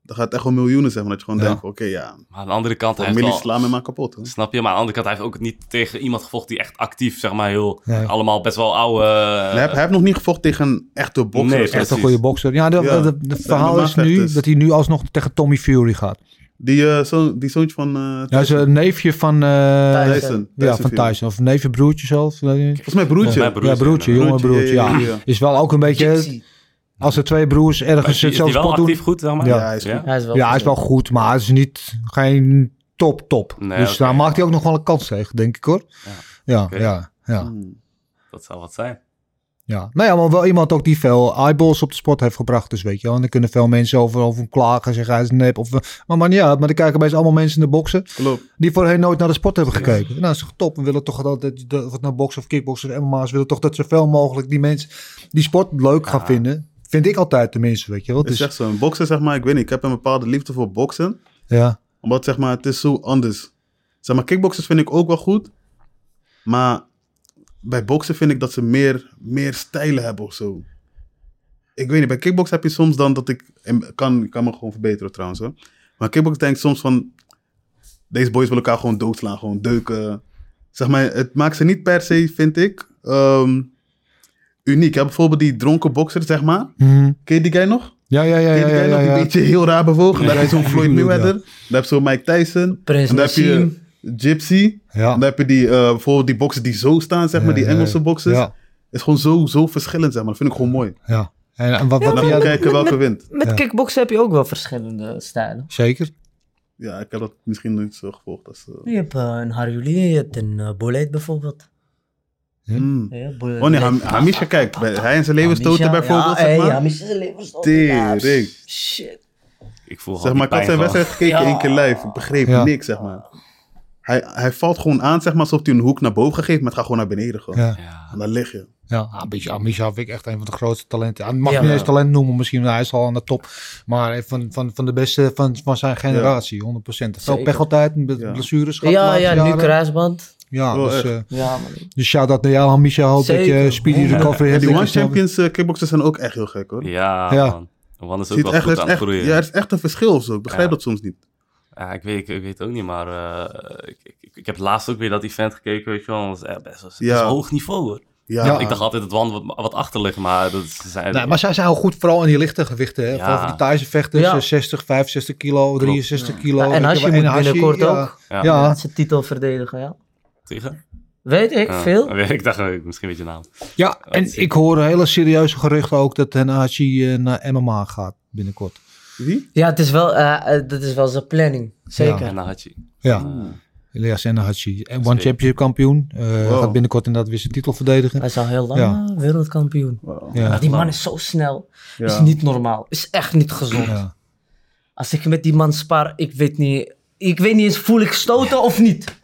Daar gaat het echt wel miljoenen zijn. Dat je gewoon Ja. denkt, oké ja, Maar aan de andere kant, hij heeft familie wel- slaan me maar kapot. Hè? Snap je? Maar aan de andere kant, hij heeft ook niet tegen iemand gevochten die echt actief, zeg maar, heel... Nee. Allemaal best wel oude... eh, hij, heeft, hij heeft nog niet gevochten tegen een echte bokser. Nee, of Echt zo. een Precies. goede bokser. Ja, de- Ja. dus. de- de Zijn verhaal is nu MMA-vechters. dat hij nu alsnog tegen Tommy Fury gaat. Die, eh, zoon, die zoontje van eh, Ja, is een neefje van... eh, Tyson. Tyson. Ja, van Fury. Tyson. Of neefje, broertje zelf. weet je niet. Volgens mij broertje. Volgens mij ja, broertje, ja. jonge broertje. Ja, ja, ja, ja. Is wel ook een beetje... Als er twee broers Maar Is ergens die, is die hetzelfde wel sport actief doen... goed, zeg maar? Ja. Ja, hij is goed. Hij is wel Ja, hij is wel goed, maar het is niet... Geen top, top. Nee, dus oké, daar maakt ja. hij ook nog wel een kans tegen, denk ik hoor. Ja, ja, oké. ja, ja, Hmm. Dat zou wat zijn. ja. Nou ja, maar wel iemand ook die veel eyeballs op de sport heeft gebracht. Dus weet je wel. En dan kunnen veel mensen over, over hem klagen, zeggen hij is nep. Of, eh, maar man, ja, maar dan kijken bij allemaal mensen in de boksen. Klopt. die voorheen nooit naar de sport hebben gekeken. Nou, dat is toch top. We willen toch dat, dat, dat- of het nou boksen of kickboksen of MMA's, willen toch dat zoveel mogelijk die mensen die sport leuk gaan vinden. Vind ik altijd tenminste, weet je wel. Het is Dus, echt zo. Een Boksen, zeg maar, ik weet niet. Ik heb een bepaalde liefde voor boksen. ja, Omdat, zeg maar, het is zo anders. Zeg maar, kickboxers vind ik ook wel goed. Maar bij boksen vind ik dat ze meer, meer stijlen hebben of zo. Ik weet niet, bij kickbox heb je soms dan dat ik... en kan, ik kan me gewoon verbeteren trouwens, hoor. Maar kickbox denk ik soms van... Deze boys willen elkaar gewoon doodslaan, gewoon deuken. Zeg maar, het maakt ze niet per se, vind ik, ehm, uniek. Je hebt bijvoorbeeld die dronken bokser, zeg maar. Mhm. Ken je die guy nog? ja, ja, ja, ja, Ken je ja, die guy nog? ja, Die ja. een beetje heel raar bewogen. Ja, Dan heb je ja, zo'n ja, Floyd ja. Mayweather. Dan heb je zo'n Mike Tyson. Prins en dan heb je Nassim. Gypsy. Ja. En dan heb je die, eh, bijvoorbeeld die boksen die zo staan, zeg maar, die Ja, ja, Engelse boxers. Ja, Het is gewoon zo, zo verschillend, zeg maar. Dat vind ik gewoon mooi. ja. En, en wat, wat Dan vind moet jij je dan? kijken welke wint. Met Ja. kickboksen heb je ook wel verschillende stijlen. Zeker. Ja, ik heb dat misschien nooit zo gevolgd. Als, eh, Je hebt eh, een Harjuli, je hebt een eh Boleid bijvoorbeeld. hmm. Ja, Oh nee, Ham- Hamisha, kijk. bij- hij en zijn levensstoten Ja, bijvoorbeeld, zeg hey, maar. Hamisha is een levensstoten. Ja, Tering. Shit. Ik voel Zeg gewoon maar, ik had zijn wedstrijd gekeken Ja. één keer live. Ik begreep Ja. niks, zeg maar. Hij, hij valt gewoon aan, zeg maar, alsof hij een hoek naar boven geeft, maar het gaat gewoon naar beneden. Gewoon. Ja, En dan lig je. ja. Ah, een beetje Amisha vind ik echt een van de grootste talenten. Hij mag Ja. niet eens talent noemen, misschien, want hij is al aan de top. Maar hij van, van, van de beste van, van zijn generatie, 100%. Veel Zeker. pech altijd, met Ja. blessures. gehad de Ja, laatste ja, nu jaren. kruisband. Ja, Oh, dus, echt. eh, Ja, man. Dus shout-out naar jou, Hamisha. Hoop dat je eh, Zeker. speedy recovery Ja, hebt. die One Ik snap het. Champions eh, kickboxers zijn ook echt heel gek, hoor. Ja, Ja. man. Wan is ook Ziet wel echt, er goed is aan het echt, groeien. ja, er is echt een verschil of zo. Ik begrijp Ja. dat soms niet. Ja, ik weet, ik, ik weet ook niet, maar eh, ik, ik, ik heb laatst ook weer dat event gekeken, weet je wel. Dat is echt best wel dat is Ja. hoog niveau, hoor. Ja, Ja. Ik dacht altijd dat Wan wat, wat achter ligt, maar dat is- zijn... Nee, maar zij zijn heel goed, vooral in die lichte gewichten. Hè? Ja. Vooral voor die Thaise vechters, Ja. eh, 60, 65 kilo, 63 kilo. Ja, en weet Hashi wel. moet Hashi, binnenkort ja. ook Ja. Ja, ja. zijn titel verdedigen, ja. tegen? Weet ik Ja. veel. Ik dacht, eh, misschien weet je naam. Oh, en ik hoor hele serieuze geruchten ook dat Hashi eh, naar MMA gaat binnenkort. Wie? Ja, het is wel, eh, eh, dat is wel zijn planning. Zeker. En dan had je... Ja, Ah. Elias en Hashi. En One Championship kampioen. eh, Wow. Gaat binnenkort inderdaad weer zijn titel verdedigen. Hij is al heel lang Ja. eh, wereldkampioen. Ja. Die man is zo snel. Ja. Is niet normaal. Is echt niet gezond. Ja. Als ik met die man spar, ik weet niet. Ik weet niet eens, voel ik stoten of niet?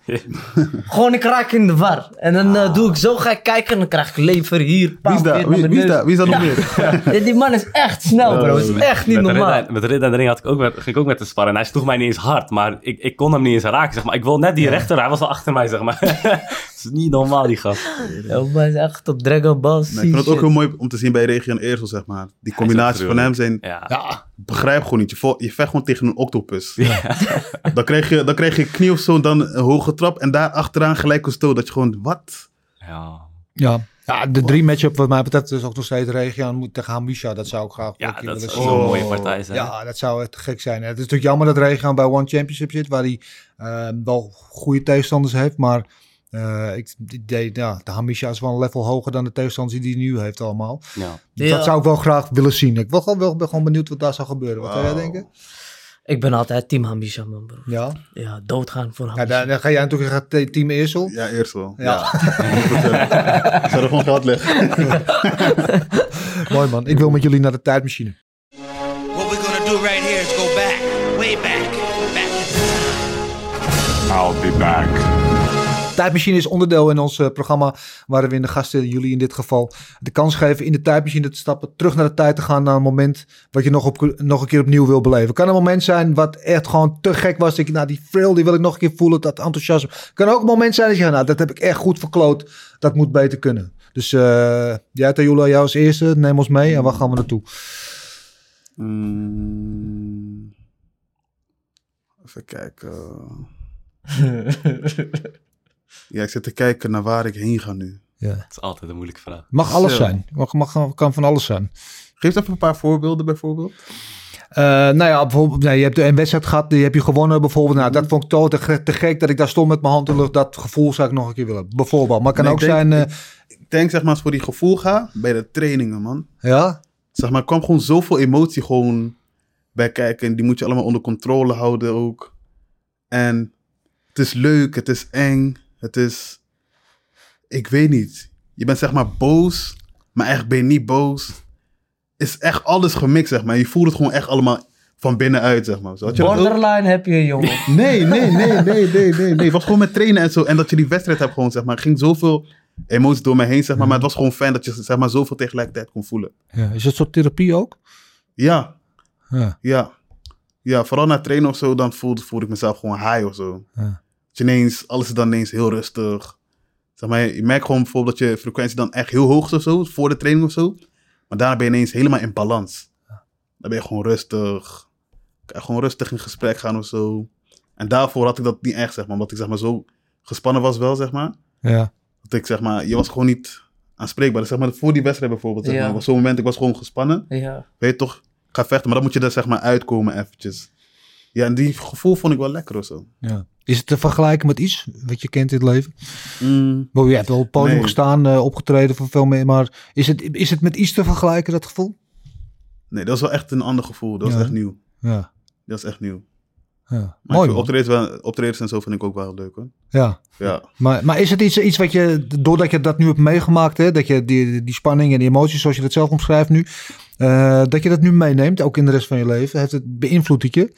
Gewoon, ik raak in de war. En dan eh, doe ik zo, ga ik kijken en dan krijg ik lever hier. Wie is pam, daar? weer Wie, naar wie is beneden. daar? Wie is daar nog meer? Ja, die man is echt snel, bro. Het is echt niet met de normaal. Ridder- met de Ridder en de Ring had ik ook met, ging ik ook met de sparren. En hij sloeg mij niet eens hard, maar ik, ik kon hem niet eens raken. Zeg maar. Ik wil net die rechter, hij was al achter mij, zeg maar. Het is niet normaal, die gast. Ja, die man is echt op Dragon Ball Z. Nee, ik vind het ook shit. heel mooi om te zien bij Regio en Eersel, zeg maar. Die combinaties van hem zijn... Ja. Begrijp gewoon niet. Je, vo- je vecht gewoon tegen een octopus. Dan, kreeg je, dan kreeg je knie of zo, dan een hoge trap. En daar achteraan gelijk een stoot. Dat je gewoon, wat? Ja. Ja. ja, de drie matchup wat mij betreft is ook nog steeds regio. Moet tegen Hamisha, dat zou ik graag Ja, een keer dat willen is zien. zo'n Oh. mooie partij zijn. Ja, dat zou echt gek zijn. Het is natuurlijk jammer dat Regaan bij One Championship zit, waar hij eh, wel goede tegenstanders heeft. Maar eh, ik, ik deed, ja, de Hamisha is wel een level hoger dan de tegenstanders die hij nu heeft allemaal. Ja. Dus Ja. Dat zou ik wel graag willen zien. Ik ben gewoon, wel, ben gewoon benieuwd wat daar zou gebeuren. Wat zou jij denken? Ik ben altijd team Hamisha, man, bro. Ja, Ja, doodgaan voor ja Hamisha. dan, dan ga jij natuurlijk gaat te- team Eersel. Ja, Eersel. Ja. Ik zou er gewoon geld leggen. Mooi man, ik wil met jullie naar de tijdmachine. What we're gonna do right here is go back, way back, back to the time. I'll be back. Tijdmachine is onderdeel in ons eh, programma waarin we in de gasten, jullie in dit geval, de kans geven in de tijdmachine te stappen, terug naar de tijd te gaan naar een moment wat je nog, op, nog een keer opnieuw wil beleven. Kan een moment zijn wat echt gewoon te gek was. Dat je, nou, die thrill die wil ik nog een keer voelen, dat enthousiasme. Kan ook een moment zijn dat je, nou, dat heb ik echt goed verkloot. Dat moet beter kunnen. Dus eh jij, Tayula, jou als eerste, neem ons mee en waar gaan we naartoe? Mm. even kijken. ja, ik zit te kijken naar waar ik heen ga nu. Het is altijd een moeilijke vraag. Mag alles Zo. zijn. Mag, mag, kan van alles zijn. Geef even een paar voorbeelden bijvoorbeeld. Eh, nou ja, bijvoorbeeld, nee, je hebt een wedstrijd gehad, die heb je gewonnen bijvoorbeeld. Nou, dat vond ik toch te, ge- te gek dat ik daar stond met mijn hand in de lucht. Dat gevoel zou ik nog een keer willen. Bijvoorbeeld. Maar het kan Nee, ook ik denk- zijn. eh, Ik denk zeg maar als ik voor die gevoel ga bij de trainingen man. eh, ja, Zeg maar, er kwam gewoon zoveel emotie gewoon bij kijken. En die moet je allemaal onder controle houden ook. En is leuk, het is eng, het is... Ik weet niet. Je bent zeg maar boos, maar echt ben je niet boos. Is echt alles gemixt, zeg maar. Je voelt het gewoon echt allemaal van binnenuit, zeg maar. Zo, had je dat ook? Borderline heb je, jongen. Nee, nee, nee, nee, nee, nee, nee. Het was gewoon met trainen en zo. En dat je die wedstrijd hebt gewoon, zeg maar. Er ging zoveel emoties door me heen, zeg maar. Maar het was gewoon fijn dat je, zeg maar, zoveel tegelijkertijd kon voelen. Ja, is dat soort therapie ook? Ja, Ja. ja. Ja, vooral na trainen of zo, dan voelde, voelde ik mezelf gewoon high of zo. Ja. Dat je ineens, alles is dan ineens heel rustig. Zeg maar, je merkt gewoon bijvoorbeeld dat je frequentie dan echt heel hoog is of zo, voor de training of zo. Maar daarna ben je ineens helemaal in balans. Dan ben je gewoon rustig. Kan je gewoon rustig in gesprek gaan of zo. En daarvoor had ik dat niet echt, zeg maar. Omdat ik zeg maar zo gespannen was wel, zeg maar. Ja. Dat ik zeg maar, je was gewoon niet aanspreekbaar. Dus, Zeg maar, voor die wedstrijd bijvoorbeeld, zeg Ja. maar. Op zo'n moment, ik was gewoon gespannen Ja. weet je toch, ik ga vechten. Maar dan moet je er zeg maar uitkomen eventjes. Ja, en die gevoel vond ik wel lekker of zo. ja. Is het te vergelijken met iets wat je kent in het leven? Mm. Bo, je hebt wel op het podium Nee. gestaan, eh, opgetreden voor veel meer. Maar is het, is het met iets te vergelijken, dat gevoel? Nee, dat was wel echt een ander gevoel. Dat was Ja. echt nieuw. Ja. Dat is echt nieuw. ja. Mooi Maar ik vind man. optredens, wel, optredens en zo vind ik ook wel leuk hoor. Ja. Ja, Maar, maar is het iets, iets wat je, doordat je dat nu hebt meegemaakt, hè, dat je die, die spanning en die emoties, zoals je dat zelf omschrijft nu, eh, dat je dat nu meeneemt, ook in de rest van je leven, heeft het beïnvloed het je?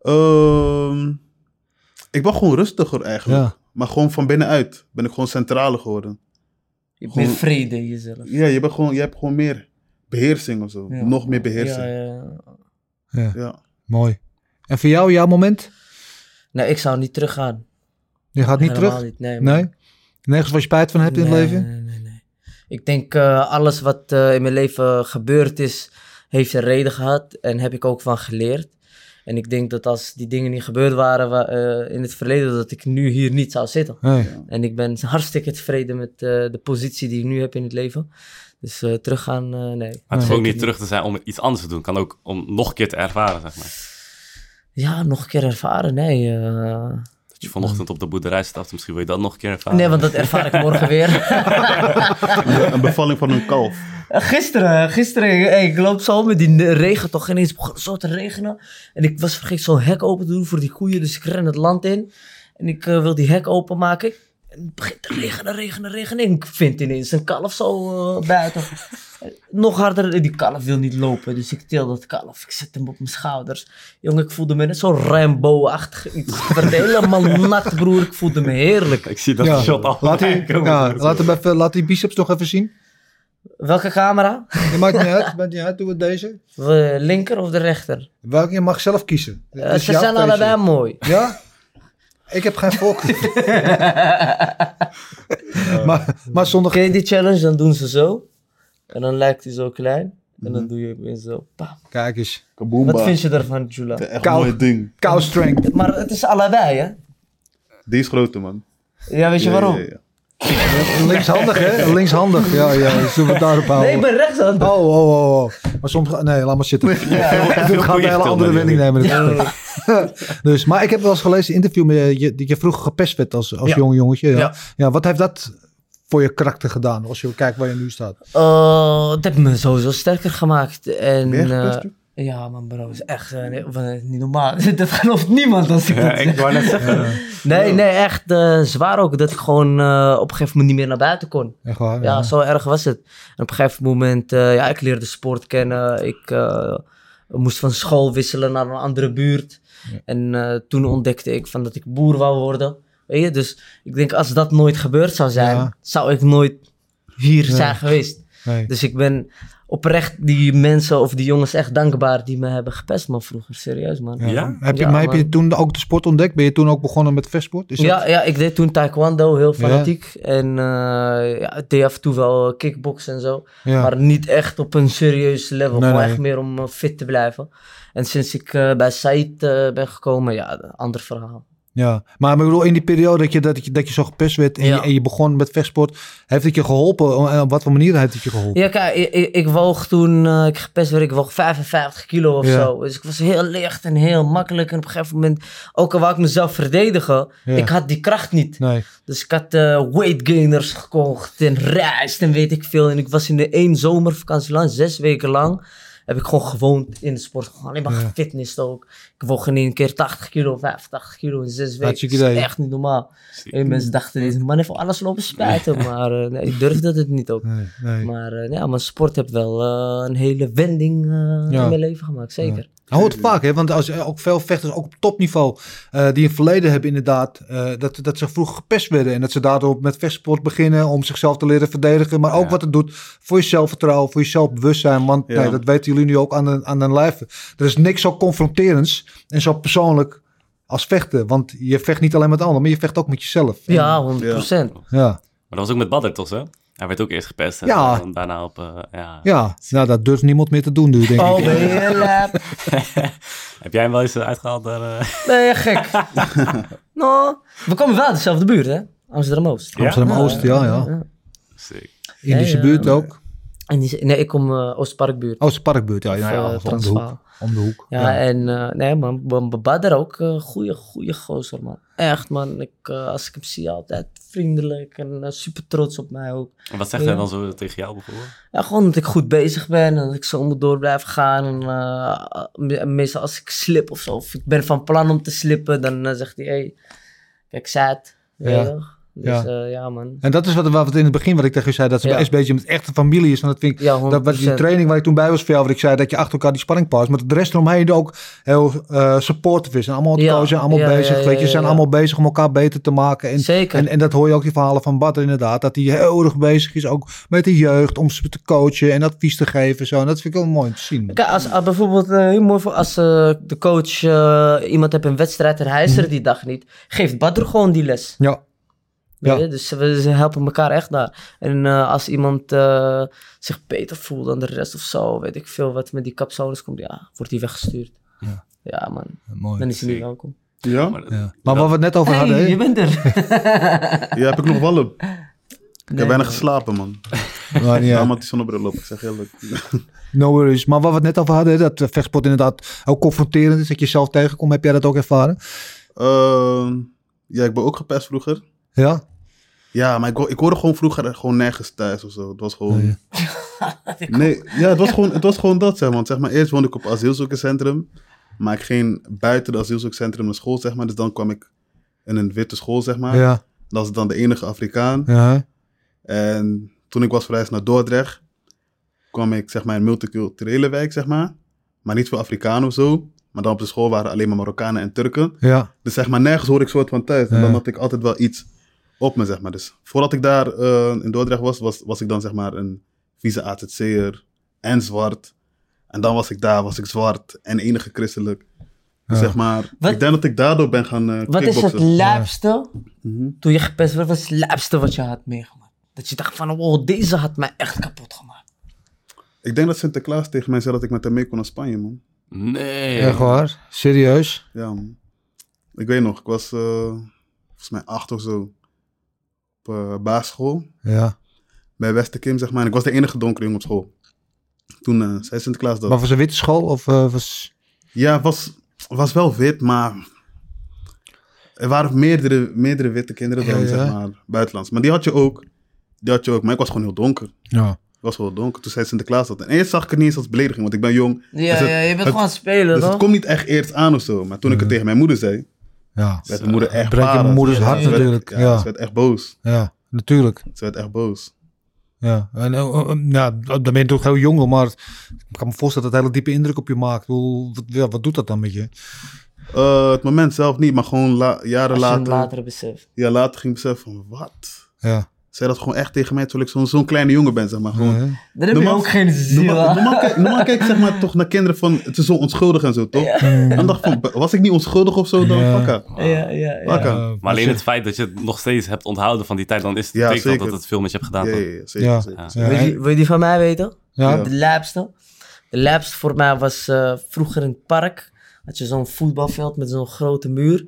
Ehm, ik ben gewoon rustiger eigenlijk. Ja. Maar gewoon van binnenuit ben ik gewoon centraler geworden. Je hebt Gewoon- meer vrede in jezelf. Ja, je, bent gewoon, je hebt gewoon meer beheersing of zo. Ja. Nog meer beheersing. Ja, Ja, ja. Mooi. En voor jou, jouw moment? Nee, ik zou niet teruggaan. Je gaat niet Helemaal terug? Niet, nee, man. Nee? Nergens waar je spijt van hebt in het Nee, leven? Nee, nee, nee. Ik denk eh, alles wat eh, in mijn leven gebeurd is, heeft een reden gehad en heb ik ook van geleerd. En ik denk dat als die dingen niet gebeurd waren wa- eh, in het verleden, dat ik nu hier niet zou zitten. Nee. En ik ben hartstikke tevreden met eh, de positie die ik nu heb in het leven. Dus eh, teruggaan, eh, nee. Maar het is Zeker ook niet terug te zijn om iets anders te doen. Kan ook om nog een keer te ervaren, zeg maar. Ja, nog een keer ervaren, nee. eh. Dat je vanochtend op de boerderij stapt, misschien wil je dat nog een keer ervaren. Nee, want dat ervaar ik morgen weer. Een bevalling van een kalf. Gisteren, gisteren, hey, ik loop zo met die regen toch ineens begon het zo te regenen. En ik was vergeten zo'n hek open te doen voor die koeien, dus ik ren het land in. En ik eh, wil die hek openmaken. En het begint te regenen, regenen, regenen. En ik vind ineens een kalf zo eh, buiten. Nog harder, eh, die kalf wil niet lopen, dus ik til dat kalf. Ik zet hem op mijn schouders. Jongen, ik voelde me net zo'n Rambo-achtig iets. Ik werd helemaal nat, broer. Ik voelde me heerlijk. Ik zie dat Ja. shot al. Laat die, aankomen. ja, laat, hem even, laat die biceps nog even zien. Welke camera? Je maakt niet uit, maakt niet uit, doe het deze. De linker of de rechter? Welke je mag zelf kiezen. Eh, Dat is ze jouw zijn keuze. allebei mooi. Ja? Ik heb geen voorkeur. maar, maar zonder... Ken je die challenge? Dan doen ze zo. En dan lijkt hij zo klein. En dan doe je hem weer zo. Pam. Kijk eens. Kaboomba. Mhm. Wat vind je daarvan, Jula? Echt Kalf. mooi ding. Cow strength. Maar het is allebei, hè? Die is groter man. Ja, weet je Ja, waarom? ja, ja. Linkshandig, hè? Linkshandig. Ja, ja. Zullen we het daarop houden? Nee, ik ben rechtshand. Oh, oh, oh, oh. Maar soms... ga- Nee, laat maar zitten. Dit gaat een hele vertel, andere man, wending nemen. dit Ja. gesprek. dus, maar ik heb wel eens gelezen in een interview met eh, je, je, dat je vroeger gepest werd als, als Ja. jong jongetje. Ja. Ja. Ja. wat heeft dat voor je karakter gedaan? Als je kijkt waar je nu staat. Eh, het heeft me sowieso sterker gemaakt. En, Ben jij gepest, eh, ja, man, bro, is echt eh, nee, van, eh, niet normaal. dat gelooft niemand als ik dat Ja, ik zeg. wou net zeggen. Nee, nee, echt eh, zwaar ook. Dat ik gewoon eh, op een gegeven moment niet meer naar buiten kon. Echt waar? Ja, zo erg was het. En op een gegeven moment, eh, ja, ik leerde sport kennen. Ik eh, moest van school wisselen naar een andere buurt. En eh, toen ontdekte ik van dat ik boer wou worden. Weet je, dus ik denk als dat nooit gebeurd zou zijn, Ja. zou ik nooit hier Nee. zijn geweest. Nee. Dus ik ben oprecht die mensen of die jongens echt dankbaar die me hebben gepest, man, vroeger. Serieus, man. Ja. Ja? Heb je, Ja, maar heb je man. toen ook de sport ontdekt? Ben je toen ook begonnen met vechtsport? Is Ja, dat- ja, ik deed toen taekwondo, heel Ja. fanatiek. En eh, ja, ik deed af en toe wel kickboksen en zo. ja. Maar niet echt op een serieus level. Nee, gewoon nee. echt meer om eh, fit te blijven. En sinds ik eh, bij Said eh, ben gekomen, ja, een ander verhaal. Ja, maar ik bedoel, in die periode dat je, dat je, dat je zo gepest werd en, Ja. je, en je begon met vechtsport, heeft het je geholpen? En op wat voor manier heeft het je geholpen? Ja, kijk, ik, ik, ik woog toen, eh, ik gepest werd, ik woog 55 kilo of Ja. zo. Dus ik was heel licht en heel makkelijk. En op een gegeven moment, ook al wou ik mezelf verdedigen, Ja. ik had die kracht niet. Nee, Dus ik had eh, weight gainers gekocht en rijst en weet ik veel. En ik was in de één zomervakantie lang, zes weken lang. heb ik gewoon gewoond in de sport. Gewoon alleen maar Ja. gefitnessd ook. Ik woog in één keer 80 kilo, 85 kilo in zes weken. Hartstikke Dat is idee. echt niet normaal. En mensen dachten, deze man heeft voor alles lopen spijten. Maar eh, nee, ik durfde het niet ook. Nee, nee. Maar eh, ja, mijn sport heeft wel eh, een hele wending eh, Ja. in mijn leven gemaakt, zeker. Hij hoort vaak, hè? want als, eh, ook veel vechters, ook op topniveau, eh, die een verleden hebben inderdaad, eh, dat, dat ze vroeg gepest werden. En dat ze daardoor met vechtsport beginnen om zichzelf te leren verdedigen. Maar ook Ja. wat het doet voor je zelfvertrouwen, voor je zelfbewustzijn. Want Ja. nee, dat weten jullie nu ook aan de, aan de lijve. Er is niks zo confronterends en zo persoonlijk als vechten. Want je vecht niet alleen met anderen, maar je vecht ook met jezelf. Ja, 100 Maar Ja, dat was ook met Badder toch zo? Hij werd ook eerst gepest en Ja. dan daarna op... eh, ja. ja. Nou, dat durft niemand meer te doen nu, denk ik. Oh, ben je lap? Heb jij hem wel eens eh, uitgehaald daar? eh? Nee, gek. no. We komen wel uit dezelfde buurt, hè? Amsterdam-Oost. Ja? Amsterdam-Oost, ja, ja. Sick. Indische Ja, ja. buurt ook. En die, nee, ik kom eh, Oostparkbuurt. Oosterparkbuurt, Oh, ja. ja, Of, ja, eh, om de hoek. Transvaal. Om de hoek. Ja, en eh, nee, man, B- B- Badr ook, eh goede, goede gozer, man. Echt, man. Ik, eh, als ik hem zie, altijd vriendelijk en eh, super trots op mij ook. En wat zegt Ja. hij dan zo tegen jou bijvoorbeeld? Ja, gewoon dat ik goed bezig ben en dat ik zo moet door blijven gaan. En, eh, me- meestal als ik slip of zo, of ik ben van plan om te slippen, dan eh, zegt hij, hey, kijk, zat. Ja. Ja. Dus Ja. eh, ja, man. En dat is wat, wat in het begin wat ik tegen je zei, dat ze Ja. bij SBG met echte familie is. En dat vind ik, Ja, 100%. dat was die training waar ik toen bij was voor jou, wat ik zei, dat je achter elkaar die spanning past. Maar de rest eromheen ook heel eh supportive is. En allemaal Ja. coachen, allemaal Ja, ja, bezig. ja, weet je, ja, ze zijn ja. allemaal bezig om elkaar beter te maken. En, Zeker. En, en dat hoor je ook die verhalen van Bart inderdaad, dat hij heel erg bezig is ook met de jeugd, om ze te coachen en advies te geven. en Zo. En dat vind ik heel mooi om te zien. Kijk, als, als bijvoorbeeld, eh, heel mooi voor als eh, de coach eh, iemand hebt een wedstrijd en hij is Mhm. er die dag niet, geeft Badr gewoon die les. Ja, Weet Ja. je? Dus we ze helpen elkaar echt daar. En eh, als iemand eh, zich beter voelt dan de rest of zo, weet ik veel wat met die kapzones komt, ja, wordt die weggestuurd. Ja. Ja, man, mooi. dan is hij niet welkom. Ja? Maar, Ja. Maar wat we het net over hadden, Hey, hè? je bent er. Ja, heb ik nog wel op. Ik Nee, heb weinig man. geslapen, man. Maar niet Ja. uit. Daarom had die zonnebril op, ik zeg eerlijk. No worries. Maar wat we het net over hadden, hè, dat eh, vechtsport inderdaad ook confronterend is, dat je zelf tegenkomt. Heb jij dat ook ervaren? Ehm, ja, ik ben ook gepest vroeger. Ja? Ja, maar ik, ho- ik hoorde gewoon vroeger gewoon nergens thuis of zo. Het was gewoon... Nee. Nee, Oh, ja, het was gewoon, het was gewoon dat, zeg maar. Want Zeg maar. Eerst woonde ik op asielzoekerscentrum. Maar ik ging buiten het asielzoekerscentrum naar school, zeg maar. Dus dan kwam ik in een witte school, zeg maar. Ja. Dat was dan de enige Afrikaan. Ja. En toen ik was verhuisd naar Dordrecht, kwam ik zeg maar in een multiculturele wijk, zeg maar. Maar niet veel Afrikanen of zo. Maar dan op de school waren alleen maar Marokkanen en Turken. Ja. Dus zeg maar, nergens hoor ik soort van thuis. En Ja. dan had ik altijd wel iets op me, zeg maar. Dus voordat ik daar eh, in Dordrecht was, was, was ik dan zeg maar een vieze AZC'er en zwart. En dan was ik daar, was ik zwart en enige christelijk. Dus Ja. zeg maar, Wat- ik denk dat ik daardoor ben gaan eh Wat is het kickboksen. laapste, Mhm. toen je gepest werd, wat is het laapste wat je had meegemaakt? Dat je dacht van, oh, deze had mij echt kapot gemaakt. Ik denk dat Sinterklaas tegen mij zei dat ik met hem mee kon naar Spanje, man. Nee. Echt waar? Serieus? Ja, man. Ik weet nog, ik was eh, volgens mij acht of zo op eh basisschool Ja. bij Westerkim, zeg maar. En ik was de enige donkere jongen op school. Toen eh, zei Sinterklaas dat. Maar was een witte school of eh, was... Ja, was, was wel wit, maar er waren meerdere, meerdere witte kinderen dan, Ja, ja. zeg maar, buitenlands. Maar die had je ook. Die had je ook, maar ik was gewoon heel donker. Ja. Ik was wel donker. Toen zei Sinterklaas dat. En eerst zag ik het niet eens als belediging, want ik ben jong. Ja, Dus het- ja je bent het- gewoon aan het spelen, Dus het toch? komt niet echt eerst aan of zo. Maar toen ik het tegen mijn moeder zei, Ja. werd mijn moeder echt breekt je paras. moeders Ja, hart ze werd- natuurlijk, ja. ja, ze werd echt boos. Ja. Natuurlijk. Ze werd echt boos. Ja. En eh, eh, eh, ja, dan ben je toch heel jong, maar ik kan me voorstellen dat het hele diepe indruk op je maakt. Ik bedoel, Wat, ja, wat doet dat dan met je? Eh, het moment zelf niet, maar gewoon la- jaren Als je hem later, later beseft. Ja, later ging ik beseffen van wat? Ja. Zij dat gewoon echt tegen mij, terwijl ik zo'n zo'n kleine jongen ben, zeg maar. Gewoon. Ja. Dan heb je Normaal- ook geen ziel. Normaal, hè? normaal, kijk, normaal kijk ik zeg maar toch naar kinderen van, het is zo onschuldig en zo, toch? En dan dacht ik van, "B- was ik niet onschuldig of zo dan? Ja. Fuck haar. Ja, ja, ja. Fuck haar. Eh, Maar alleen dus- het feit dat je het nog steeds hebt onthouden van die tijd, dan is het Ja, betekent dat zeker. dat het veel met je hebt gedaan. Ja, toch? ja, ja, zeker, Ja. zeker. Ja. Wil, je, die- wil je die van mij weten? Ja. Ja. De laapste. De laapste voor mij was eh, vroeger in het park. Had je zo'n voetbalveld met zo'n grote muur.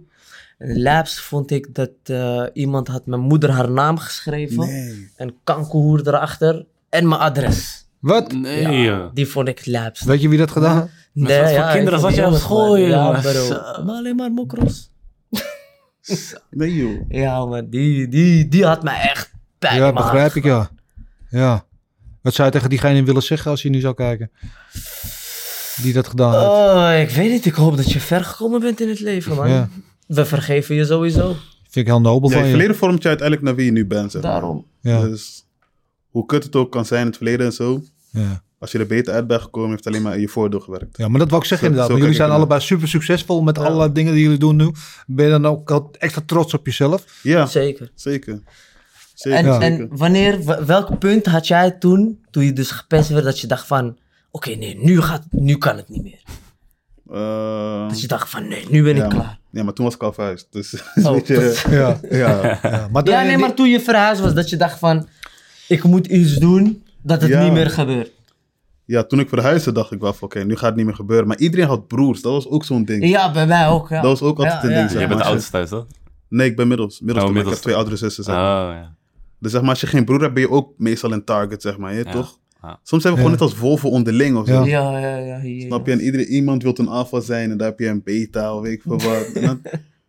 En de laapste vond ik dat eh, iemand had mijn moeder haar naam geschreven. Nee. En kankerhoer erachter. En mijn adres. Wat? Nee. joh. Die vond ik het laapste. Weet je wie dat gedaan heeft? Nee, wat voor ik kinderen vond zat je die op jongens, school, man. Ja, jongen? bro. Zo. Maar alleen maar mokros. Nee, joh. Ja, maar die, die, die had mij echt pijn in Ja, mijn hart begrijp ik ja. Ja. Wat zou je tegen diegene willen zeggen als je nu zou kijken? die dat gedaan heeft. Oh, ik weet niet. Ik hoop dat je ver gekomen bent in het leven, man. Ja. We vergeven je sowieso. Vind ik heel nobel Ja, van je je. verleden vormt je uiteindelijk naar wie je nu bent. Zeg maar. Daarom. Ja, Dus hoe kut het ook kan zijn in het verleden en zo. ja. Als je er beter uit bent gekomen, heeft het alleen maar in je voordeel gewerkt. ja, maar dat wou ik zeggen Zo- inderdaad. zo Maar jullie kijk ik zijn ernaar. allebei super succesvol met alle dingen die jullie doen nu. Ben je dan ook al extra trots op jezelf? Ja, Zeker. zeker. Zeker. En, Ja. en wanneer, w- welk punt had jij toen, toen je dus gepest werd, dat je dacht van... Oké, nee, nu, gaat, nu kan het niet meer. Eh, Dat je dacht van, nee, nu ben ja, ik klaar. Maar, ja, maar toen was ik al verhuisd. Dus Oh. weet je, Ja. ja. ja. Maar, Ja, nee, maar toen je verhuisd was, dat je dacht van... Ik moet iets doen dat het Ja. niet meer gebeurt. ja, toen ik verhuisde dacht ik wel van oké, nu gaat het niet meer gebeuren. Maar iedereen had broers, dat was ook zo'n ding. Ja, bij mij ook, ja. Dat was ook Ja, altijd een ja. ding. Zeg Jij bent de maar. Als oudste je- thuis, toch? Nee, ik ben middels. Middels, Oh, toen, maar middels. Ik heb twee oudere zussen. Zeg. maar. Oh, ja. Dus zeg maar, als je geen broer hebt, ben je ook meestal een target, zeg maar. Je, Ja. Ah. toch? Ja. Soms zijn we gewoon Ja. net als Volvo onderling of zo. Ja. Ja, ja, ja. hier. Snap je? En iedereen, iemand wil een alfa zijn en daar heb je een beta of weet ik veel wat. En dan-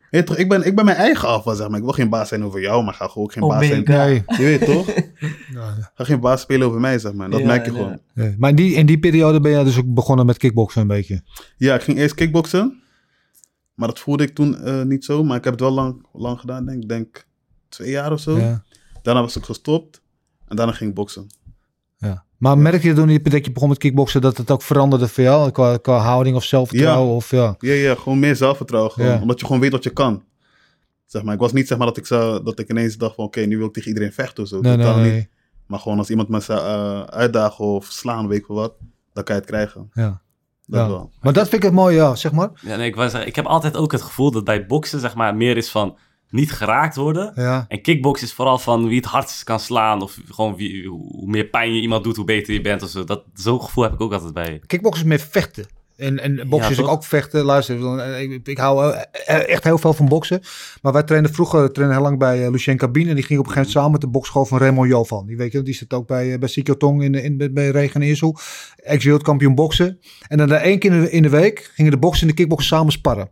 Weet je toch, ik ben, ik ben mijn eigen alfa, zeg maar. Ik wil geen baas zijn over jou, maar ga gewoon ook Oh, geen baas zijn. Omega. nee. Je weet toch? Nee. Ga geen baas spelen over mij, zeg maar. Dat Ja, merk je nee. gewoon. Nee. Maar in die, in die periode ben je dus ook begonnen met kickboksen een beetje. Ja, ik ging eerst kickboksen. Maar dat voelde ik toen eh, niet zo. Maar ik heb het wel lang, lang gedaan, denk ik. Denk twee jaar of zo. Ja. Daarna was ik gestopt. En daarna ging ik boksen. Ja. Maar merkte je toen je- dat je begon met kickboksen dat het ook veranderde voor jou? Qua, qua houding of zelfvertrouwen? Of, ja. Ja, ja, gewoon meer zelfvertrouwen. Gewoon, Ja. Omdat je gewoon weet wat je kan. Zeg maar, ik was niet zeg maar dat ik, zou, dat ik ineens dacht van... Oké, nu wil ik tegen iedereen vechten of zo. Nee, nee, Totaal niet. nee. Maar gewoon als iemand me zou eh, uitdagen of slaan, weet ik veel wat, dan kan je het krijgen. Ja. Dat Ja. wel. Maar dat vind ik het mooi, ja, zeg maar. Ja, nee, ik, wou zeggen, ik heb altijd ook het gevoel dat bij boksen zeg maar, meer is van niet geraakt worden. Ja. En kickbox is vooral van wie het hardst kan slaan. Of gewoon wie, hoe meer pijn je iemand doet, hoe beter je bent. Of zo. Dat, zo'n gevoel heb ik ook altijd bij. Kickboksen is meer vechten. En, en boksen is toch? ook vechten. Luister, dan, eh, ik, ik hou eh, eh, echt heel veel van boksen. Maar wij trainden vroeger trainden heel lang bij eh, Lucien Cabine. En die ging op een gegeven moment samen met de bokschool van Raymond Jovan. Die, weet je, die zit ook bij, eh, bij Sikyo Tong in, in, bij- bij Regen Eersel. Ex-wereldkampioen boksen. En dan eh, één keer in de, in de week gingen de boksen en de kickboksen samen sparren.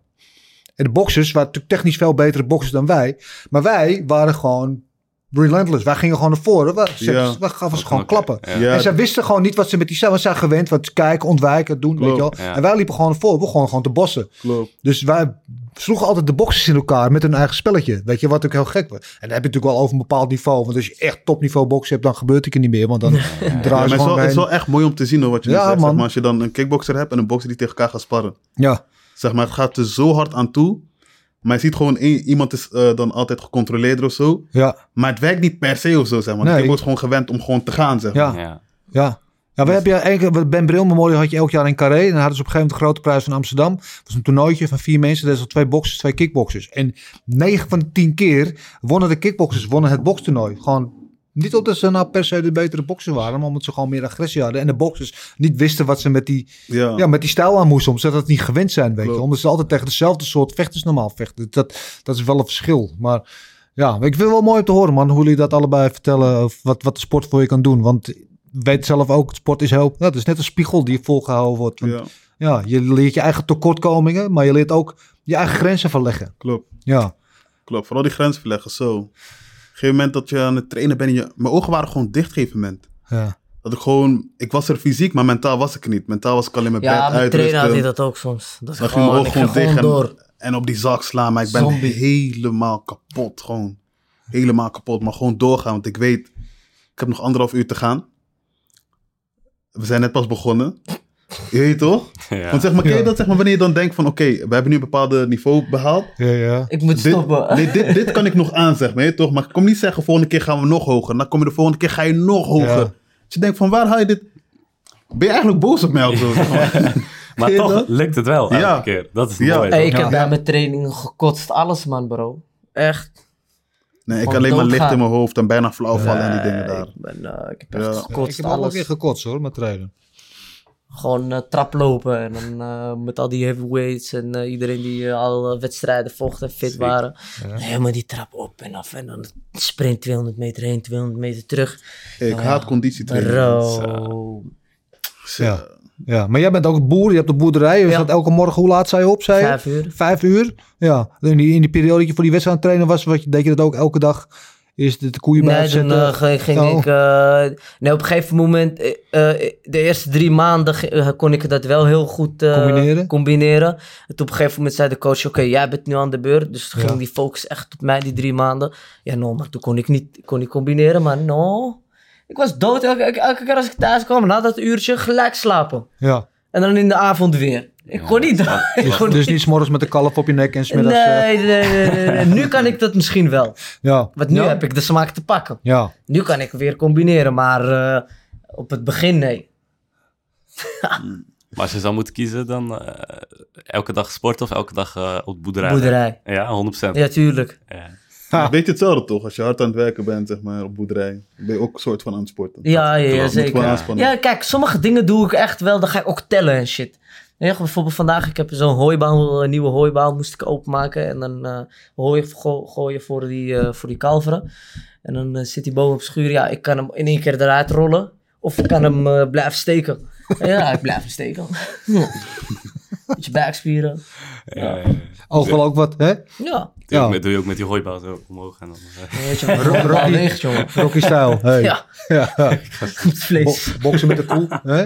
En de boksers waren natuurlijk technisch veel betere boksers dan wij. Maar wij waren gewoon relentless. Wij gingen gewoon naar voren. We, ze- Ja. we gaven ze gewoon Oké, klappen. ja. Ja, En zij wisten gewoon niet wat ze met die cel- want Zij zijn gewend wat kijken, ontwijken, doen. Weet je wel. Klopt, ja. En wij liepen gewoon voor. We gewoon, gewoon te bossen. klopt. Dus wij sloegen altijd de boxers in elkaar met hun eigen spelletje. Weet je wat ook heel gek was. En dan heb je het natuurlijk wel over een bepaald niveau. Want als je echt topniveau boksen hebt, dan gebeurt het er niet meer. Want dan Ja, maar draai het je is, gewoon wel, het is wel heen. echt mooi om te zien hoor, wat je nu Ja, zegt. Zeg man. maar, als je dan een kickboxer hebt en een bokser die tegen elkaar gaat sparren. Ja, Zeg maar, het gaat er zo hard aan toe. Maar je ziet gewoon, één- iemand is eh, dan altijd gecontroleerder of zo. ja, Maar het werkt niet per se of zo, zeg maar. Nee. Je wordt gewoon gewend om gewoon te gaan, zeg maar. ja, Ja. ja. Ja, we hebben ja één keer- wat Ben Bril Memorial had je elk jaar in Carré. En dan hadden ze op een gegeven moment de grote prijs van Amsterdam. Dat was een toernooitje van vier mensen. Dat is al twee boxers, twee kickboxers. En negen van de tien keer wonnen de kickboxers wonnen het bokstoernooi. Gewoon niet omdat ze nou per se de betere boxers waren. Maar omdat ze gewoon meer agressie hadden. En de boxers niet wisten wat ze met die, Ja. ja, met die stijl aan moesten. Omdat ze dat niet gewend zijn, weet je. Klopt. Omdat ze altijd tegen dezelfde soort vechters normaal vechten. Dat, dat is wel een verschil. Maar ja, ik vind het wel mooi om te horen, man. Hoe jullie dat allebei vertellen. Of wat, wat de sport voor je kan doen. Want weet zelf ook, sport is heel... Ja, het is net een spiegel die volgehouden wordt. Want, ja. Ja, je leert je eigen tekortkomingen. Maar je leert ook je eigen grenzen verleggen. klopt. Ja, Klopt. Vooral die grens verleggen, zo. Op een gegeven moment dat je aan het trainen bent, en je... mijn ogen waren gewoon dicht op een gegeven moment. ja, Dat ik gewoon, ik was er fysiek, maar mentaal was ik er niet. Mentaal was ik alleen mijn Ja, bed mijn uit. trainer had hij dat ook soms. Dat Dan ik ging mijn gewoon, oog ik ging gewoon gewoon dicht door. en, en op die zak slaan. Maar ik ben Zombie. helemaal kapot. Gewoon helemaal kapot. Maar gewoon doorgaan, want ik weet, ik heb nog anderhalf uur te gaan. We zijn net pas begonnen. Je weet toch? Ja. Want zeg maar, ken je Ja. dat zeg maar, wanneer je dan denkt van... Oké, we hebben nu een bepaald niveau behaald. ja, ja. Ik moet Dit, stoppen. nee, dit, dit kan ik nog aan, zeg maar. je weet toch? Maar kom niet zeggen, volgende keer gaan we nog hoger. Dan kom je de volgende keer, ga je nog hoger. Ja. Dus je denkt van, waar haal je dit... Ben je eigenlijk boos op mij of zo? zeg maar? Maar Ken je toch dat? lukt het wel. Ja. elke Keer. Dat is Ja. mooi. Hey, toch? ik Ja. heb bij mijn trainingen gekotst. Alles, man, bro. Echt. Nee, ik Gewoon alleen maar licht doodgaan. in mijn hoofd en bijna flauw vallen en die dingen Eh, daar. Ik, ben, eh, ik heb echt Ja. Ik gekotst. heb ook wel een alles. keer gekotst hoor, met trainen. Gewoon eh, traplopen. En dan eh, met al die heavyweights en eh, iedereen die eh, al eh, wedstrijden vocht en fit waren. Helemaal die trap op en af. En dan sprint 200 meter heen, 200 meter terug. Hey, ik haat conditietraining. Dus, eh, Bro. Ja. ja, maar jij bent ook boer, je hebt een boerderij. Je Ja. staat elke morgen, hoe laat zei je op? Zei je? Vijf uur. Vijf uur? Ja. In die, in die periode dat je voor die wedstrijd aan het trainen was, wat, deed je dat ook elke dag Is de, de koeien bij nee, toen uitzetten? eh, ging, ging Oh. ik... eh, nee, op een gegeven moment... eh, eh, de eerste drie maanden ge- eh, kon ik dat wel heel goed eh, Combineren? combineren. En toen op een gegeven moment zei de coach... Oké, jij bent nu aan de beurt. Dus toen Ja. ging die focus echt op mij, die drie maanden. Ja, no, maar toen kon ik niet kon ik combineren. Maar no... Ik was dood. Elke, elke- elke keer als ik thuis kwam, na dat uurtje, gelijk slapen. Ja. En dan in de avond weer. Ik kon niet. Ik Dus, kon dus niet. niet s'morgens met de kalf op je nek en smiddags... eh, Nee, nee, nee, nee, nee. Nu kan ik dat misschien wel. ja. Want nu ja. heb ik de smaak te pakken. Ja. Nu kan ik weer combineren, maar eh, op het begin nee. Maar als je zou moeten kiezen, dan eh, elke dag sporten of elke dag eh, op boerderij? Boerderij. Ja, 100%. Ja, tuurlijk. Ja. Ja. Een beetje hetzelfde toch? Als je hard aan het werken bent, zeg maar, op boerderij, ben je ook een soort van aan het sporten. Ja, ja, ja, Moet gewoon zeker. aanspannen. Ja, kijk, sommige dingen doe ik echt wel. Dan ga ik ook tellen en shit. Weet je, bijvoorbeeld vandaag, ik heb zo'n hooibaal, een nieuwe hooibaal moest ik openmaken. En dan eh hooi go- gooien voor die, eh, voor die kalveren. En dan eh, zit die boom op schuur. Ja, ik kan hem in één keer eruit rollen. Of ik kan hem eh, blijven steken. Ja, ik blijf hem steken. Beetje buikspieren. Ja, ja, ja. Oog wel ook wat, hè? Ja, Doe, je ook Ja. met, doe je ook met die hooibaal zo omhoog. En dan, eh, weet je, wat Rocky. beweegt, jongen. Rocky style. Hey. Ja, Ja. goed vlees. Bo- boksen met de koe. Hè?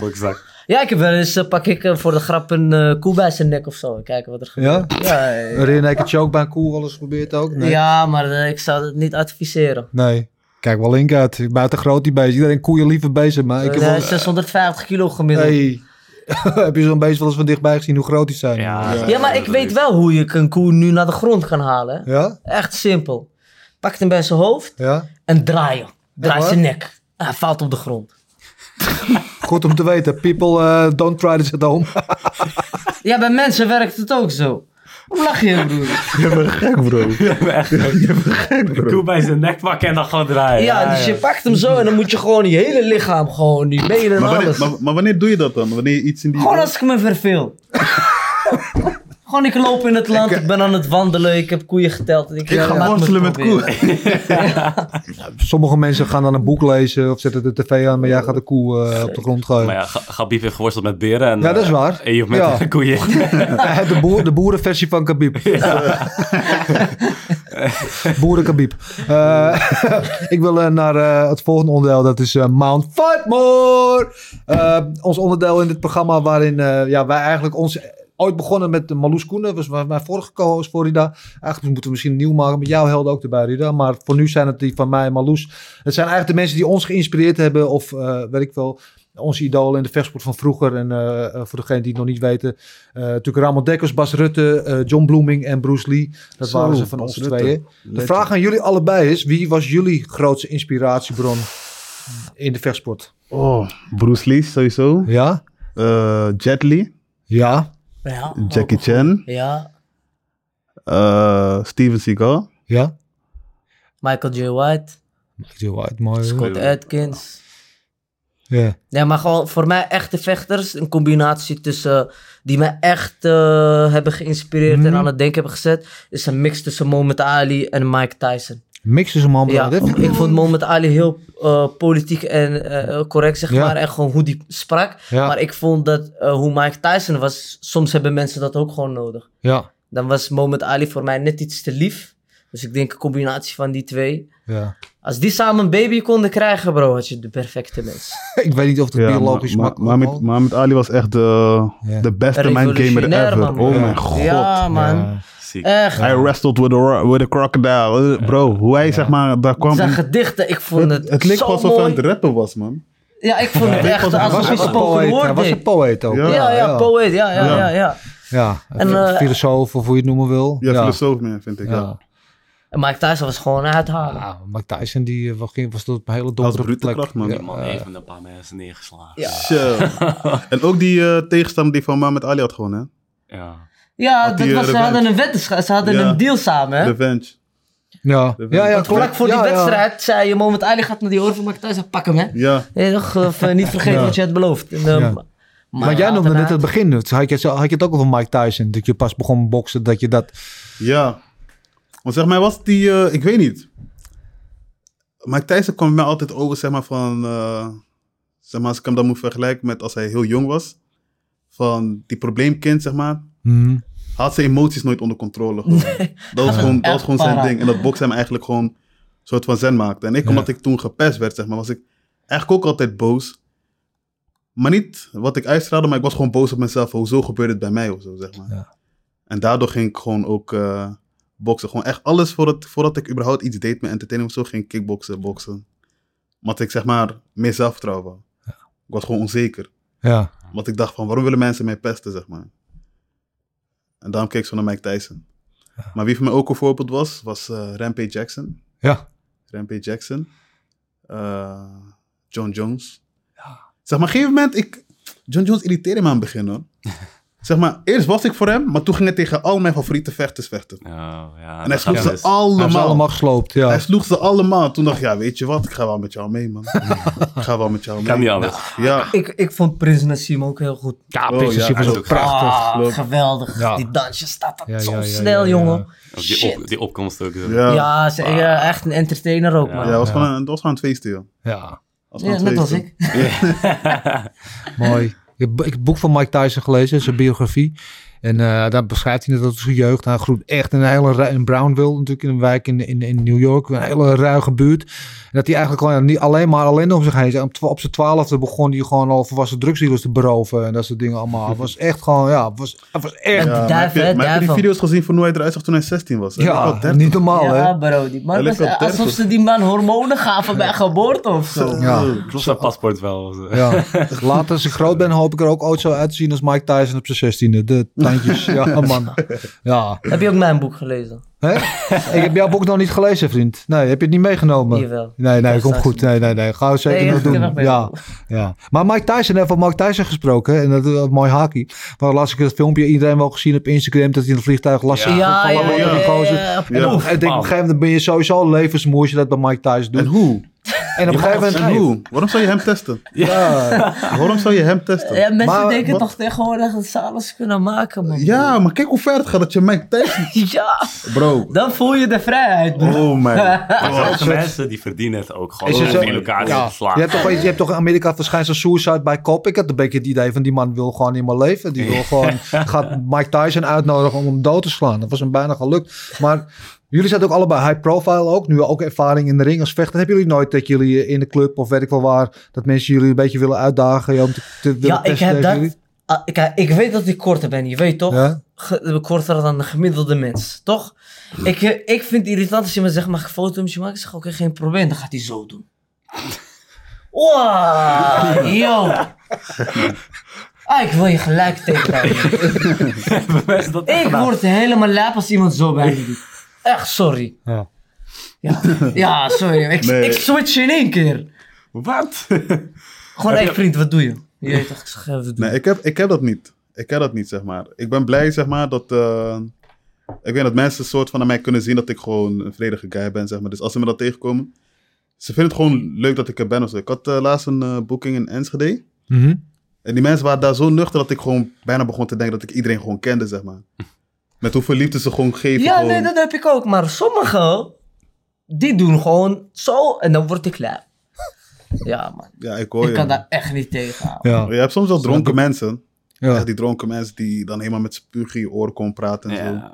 bokzak. Ja, ik heb wel eens, eh, pak ik eh, voor de grap een eh, koe bij zijn nek of zo. Kijken wat er gebeurt. Ja? Ja, eh, Een rear choke bij een koe, alles gebeurt ook. Nee. ja maar eh, ik zou het niet adviseren. nee. Kijk wel link uit. Buiten groot die beest. Iedereen koeien liever bezig, maar ik heb Eh, wel... 650 kilo gemiddeld. Hey. heb je zo'n beest wel eens van dichtbij gezien hoe groot die zijn? Ja, Ja, maar ik weet wel hoe je een koe nu naar de grond kan halen. hè. Ja? Echt simpel. Pak hem bij zijn hoofd Ja? en draaien. Draai Echt zijn nek. Hij valt op de grond. Goed om te weten. People, eh, don't try this at home. Ja, bij mensen werkt het ook zo. Hoe lach je, broer? De koe bij zijn nek pakken en dan gewoon draaien. Ja, dus je pakt hem zo en dan moet je gewoon je hele lichaam, gewoon die benen en Maar alles. wanneer, maar, maar wanneer doe je dat dan? Wanneer je iets in die... Gewoon als ik me verveel. Gewoon, ik loop in het land, ik ben aan het wandelen, ik heb koeien geteld. en Ik, ik ga laat me worstelen met proberen. koe. Sommige mensen gaan dan een boek lezen of zetten de tv aan, maar jij gaat de koe eh, op de grond gooien. Maar ja, Ga- Gabib heeft geworsteld met beren. En, Ja, dat is eh, waar. En je met Ja. de koeien. Eh, de, boer, de boerenversie van Kabib. Boerenkabib. Eh, ik wil eh, naar eh, het volgende onderdeel. Dat is eh, Mount Fightmore. Eh ons onderdeel in dit programma waarin eh, ja, wij eigenlijk ons... Ooit begonnen met de Marloes Koenen, was mijn mijn vorige co-host voor Rida. Eigenlijk moeten we misschien nieuw maken met jouw helden ook erbij, Rida. Maar voor nu zijn het die van mij en Marloes. Het zijn eigenlijk de mensen die ons geïnspireerd hebben of eh weet ik wel, onze idolen in de vechtsport van vroeger. En eh, eh, voor degenen die het nog niet weten, eh, natuurlijk Ramon Dekkers, Bas Rutte, eh, John Bloeming en Bruce Lee. Dat Zo, waren ze van Bas ons Rutte. tweeën. De vraag aan jullie allebei is, wie was jullie grootste inspiratiebron in de vechtsport? Oh, Bruce Lee sowieso. Ja? Eh, Jet Li. Ja? Ja. Jackie Chan. Ja, eh, Steven Seagal. Ja? Michael J. White, Ik doe wel uit, mooi. Scott Atkins. Ja. Nee, maar gewoon voor mij echte vechters. Een combinatie tussen eh, die me echt eh, hebben geïnspireerd en Hmm. aan het denken hebben gezet. Is een mix tussen Mohamed Ali en Mike Tyson. Mix is een man. Ja, bedoeld, hè? ik vond Mohamed Ali heel eh, politiek en eh, correct, zeg Ja. maar. En gewoon hoe die sprak. Ja. Maar ik vond dat eh, hoe Mike Tyson was, soms hebben mensen dat ook gewoon nodig. Ja. Dan was Mohamed Ali voor mij net iets te lief. Dus ik denk een combinatie van die twee. ja. Als die samen een baby konden krijgen, bro, had je de perfecte mens. Ik weet niet of het Ja, biologisch maar, maar, maar, makkelijk met, maar met Ali was echt de, Ja. de beste mindgamer Revolutionair, ever. man. Oh Ja. mijn god. Ja, man. Ziek. Echt. I wrestled with a, ro- with a crocodile. Eh, Bro, hoe hij zeg maar daar kwam. Zijn Het, gedichten, ik vond het, het leek zo wel alsof hij mooi. aan het rappen was, man. Ja, ik vond het echt was- hij als was een een spoken poëet. Hij word was ding. een poëet ook. Ja. Ja, ja, poëet, ja, ja, Ja. ja. ja. Ja, En, eh, filosoof of hoe je het noemen wil. Ja, filosoof meer, vind ik. Ja. Ja. En Mike Tyson was gewoon een uithalen. Ja, Mike Tyson die eh, was, ging- was tot op een hele Als donkere brute plek. kracht, man. Ja, Die man eh, heeft met een paar mensen neergeslagen. Ja. Zo. en ook die eh, tegenstander die van Mohamed Ali had gewoon, hè? Ja. Ja, Had dat die, was, eh, ze hadden een weddenschap, ze hadden Ja. een deal samen, hè? Revenge. ja. ja, ja, klopt. Want Vlak voor die Ja, ja. wedstrijd zei je momenteel gaat naar die oor van Mike Tyson, pak hem, hè? Ja. Nee, toch, of, eh, niet vergeten Ja. wat je had beloofd. En, eh, Ja. maar- Maar jij noemde net daarna- het begin. Toen Had je, het zo- had je het ook over Mike Tyson? Dat je pas begon boksen, dat je dat... Ja. Want zeg maar, was die, eh, ik weet niet. Mike Tyson kwam mij altijd over, zeg maar, van, eh, zeg maar, als ik hem dan moet vergelijken met als hij heel jong was. Van die probleemkind, zeg maar, Mhm. had zijn emoties nooit onder controle. gewoon. Dat was gewoon, dat was gewoon zijn ding. En dat bokste hem eigenlijk gewoon soort van zen maakte. En ik, Ja. omdat ik toen gepest werd, zeg maar, was ik eigenlijk ook altijd boos. Maar niet wat ik uitstraalde, maar ik was gewoon boos op mezelf. Hoezo gebeurt het bij mij of zo, zeg maar. Ja. En daardoor ging ik gewoon ook eh boksen. Gewoon echt alles voordat, voordat ik überhaupt iets deed met entertainment of zo, ging ik kickboksen, boksen. Omdat ik zeg maar meer zelfvertrouwen wou. Ik was gewoon onzeker. Ja. Want ik dacht van, waarom willen mensen mij pesten, zeg maar. En daarom keek ik zo naar Mike Tyson. Maar wie voor mij ook een voorbeeld was, was eh, Rampage Jackson. Ja. Rampage Jackson. eh, John Jones. Zeg maar, op een gegeven moment, ik, John Jones irriteerde me aan het begin, hoor. zeg maar, eerst was ik voor hem, maar toen ging hij tegen al mijn favoriete vechters vechten. Oh, ja, en hij sloeg ze Hij is allemaal. allemaal gesloopt, ja. Hij sloeg ze allemaal. Toen dacht ik, ja, weet je wat, ik ga wel met jou mee, man. ik ga wel met jou mee. Kan niet anders. Ja. Ik, ik vond Prins Nassim ook heel goed. Ja, Oh, Prinses Dus ja, Sif was hij ook is ook prachtig. Ah, klopt. geweldig. Ja. Die dansje staat dat Ja, zo ja, ja, snel, ja, ja. jongen. Ook die, Shit. op, die opkomst ook. dus zo. Ja, ja. Ja, ze- ja, echt een entertainer ook, Ja. man. het was Ja. gewoon een- het was gewoon een feestje, joh. Ja, Het was Ja, gewoon net een als feestje. ik. Mooi. Ik heb bo- ik heb het boek van Mike Tyson gelezen, zijn biografie. En eh, daar beschrijft hij net dat zijn jeugd. Hij groeit echt in een hele ru- in Brownville, natuurlijk in een wijk in, in, in New York, een hele ruige buurt. En dat hij eigenlijk gewoon niet alleen maar alleen om zich heen. zat. Op, twa- op zijn twaalfde begon hij gewoon al volwassen drugsdealers te beroven en dat soort dingen allemaal. Het was echt gewoon, ja, het was, het was echt. Ja, maar heb duiven, je, hè, maar heb je die duiven. video's gezien van hoe hij eruit zag toen hij 16 was? Hij leek wel Ja, 30. niet normaal, hè? Ja, bro. Die Hij man ligt was op alsof 30. ze die man hormonen gaven bij geboorte of zo. Ja. Klopt zijn paspoort wel. Dus, zo. Ja. Later als ik groot ben hoop ik er ook ooit zo uit te zien als Mike Tyson op zijn zestiende. De tandjes, ja man. Ja. Heb je ook mijn boek gelezen? Hè? ik heb jouw boek nog niet gelezen, vriend. Nee, heb je het niet meegenomen? Jawel. Nee, nee, Dat komt staat goed. er. Nee, nee, nee. Ga het zeker Nee, nog echt, ik heb doen. nog Ja, ja. Maar Mike Tyson, hè, van Mike Tyson gesproken. hè, En dat is wel mooi haakje. Maar laatst ik dat filmpje iedereen wel gezien op Instagram. Dat hij in een vliegtuig last Ja, van ja, allemaal ja, andere ja, gozer. ja. En op- en ik denk, op een gegeven moment ben je sowieso levensmoe als je dat bij Mike Tyson doet. En hoe? En op een gegeven moment... En hoe? Waarom zou je hem testen? Ja. Waarom zou je hem testen? Ja, Ja, mensen Maar denken wat- toch tegenwoordig dat ze alles kunnen maken, man. maar kijk hoe ver het gaat dat je Mike Tyson... Ja, Bro. dan voel je de vrijheid, bro. Oh my. Maar God. sommige mensen die verdienen het ook Is gewoon het om zo? die locatie Ja. te slaan. Je hebt, toch, je hebt toch in Amerika het verschijnsel suicide by cop. Ik had een beetje het idee van die man wil gewoon in mijn leven. Die wil gewoon, gaat Mike Tyson uitnodigen om hem dood te slaan. Dat was hem bijna gelukt. Maar jullie zijn ook allebei high profile ook. Nu ook ervaring in de ring als vechter. Hebben jullie nooit dat jullie in de club of weet ik wel waar... dat mensen jullie een beetje willen uitdagen ja, om te, te willen Ja, ik testen heb tegen dat. jullie? Ah, ik, ik weet dat ik korter ben, je weet toch? Ja. Ge- korter dan de gemiddelde mens, toch? Ik, eh, ik vind het irritant als je me zegt, mag ik een foto met je maken? Ik zeg, oké, geen probleem. Dan gaat hij zo doen. Wow, yo. Ah, ik wil je gelijk tegenhouden. Hebben mensen dat echt Ik gedaan? word helemaal lijp als iemand zo bij me doet. Echt, sorry. Ja. Ja, ja, sorry. Ik, Nee. ik switch in één keer. Wat? Gewoon, hé vriend, wat doe je? Je weet toch, ik zeg, eh, wat doe je? Nee, ik heb, ik heb dat niet. Ik heb dat niet, zeg maar. Ik ben blij, zeg maar, dat... eh, ik weet dat mensen soort van aan mij kunnen zien dat ik gewoon een vredige guy ben, zeg maar. Dus als ze me dat tegenkomen... Ze vinden het gewoon leuk dat ik er ben of zo. Ik had eh, laatst een eh, boeking in Enschede. Mhm. En die mensen waren daar zo nuchter dat ik gewoon bijna begon te denken dat ik iedereen gewoon kende, zeg maar. Met hoeveel liefde ze gewoon geven. Ja, gewoon. nee, dat heb ik ook. Maar sommigen, die doen gewoon zo en dan word ik klaar. Ja, man. Ja, ik hoor ik je. kan daar echt niet tegen. houden. Ja. Je hebt soms wel dronken mensen. Ja. Echt die dronken mensen die dan helemaal met spuug in je oren komen praten en zo. Ja.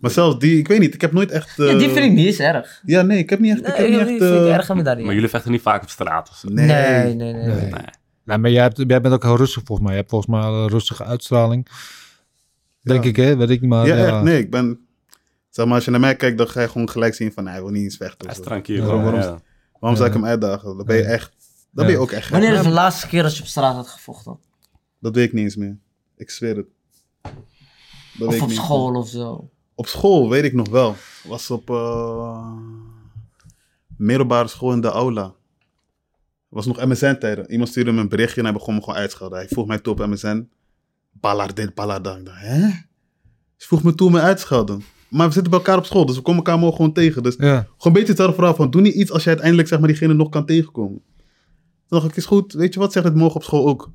Maar zelfs die, ik weet niet, ik heb nooit echt... eh, Ja, die vind ik niet eens erg. Ja, nee, ik heb niet echt... Nee, ik heb die niet echt vind ik eh, erg aan me daar niet. Maar jullie vechten niet vaak op straat of zo? Nee. Nee, nee, nee. Nee. Nou, maar jij, hebt, jij bent ook heel rustig volgens mij. Je hebt volgens mij een rustige uitstraling. Denk Ja. ik, hè? Weet ik niet, maar... Ja, ja. echt, nee, ik ben... Zeg maar, als je naar mij kijkt, dan ga je gewoon gelijk zien van, hij wil niet eens vechten. Hij of is zo. tranquil. Ja, hoor. waarom- Ja. Waarom zou ik hem uitdagen? Dan ben je echt... Dan ben je ook echt gek. Wanneer is de laatste keer dat je op straat had gevochten? Dat weet ik niet eens meer. Ik zweer het. Dat weet Of ik op niet. school of zo? Op school weet ik nog wel. Was op eh, middelbare school in de aula. Was nog MSN-tijden. Iemand stuurde me een berichtje en hij begon me gewoon uit te schelden. Hij vroeg mij toe op MSN. Ballard dit, ballard dat. Ik dacht, hè? Hij vroeg me toe om me uit te schelden. Maar we zitten bij elkaar op school, dus we komen elkaar morgen gewoon tegen. Dus Ja. gewoon een beetje hetzelfde verhaal van, doe niet iets als je uiteindelijk zeg maar, diegene nog kan tegenkomen. Toen dacht ik, is goed, weet je wat, zeg het morgen op school ook.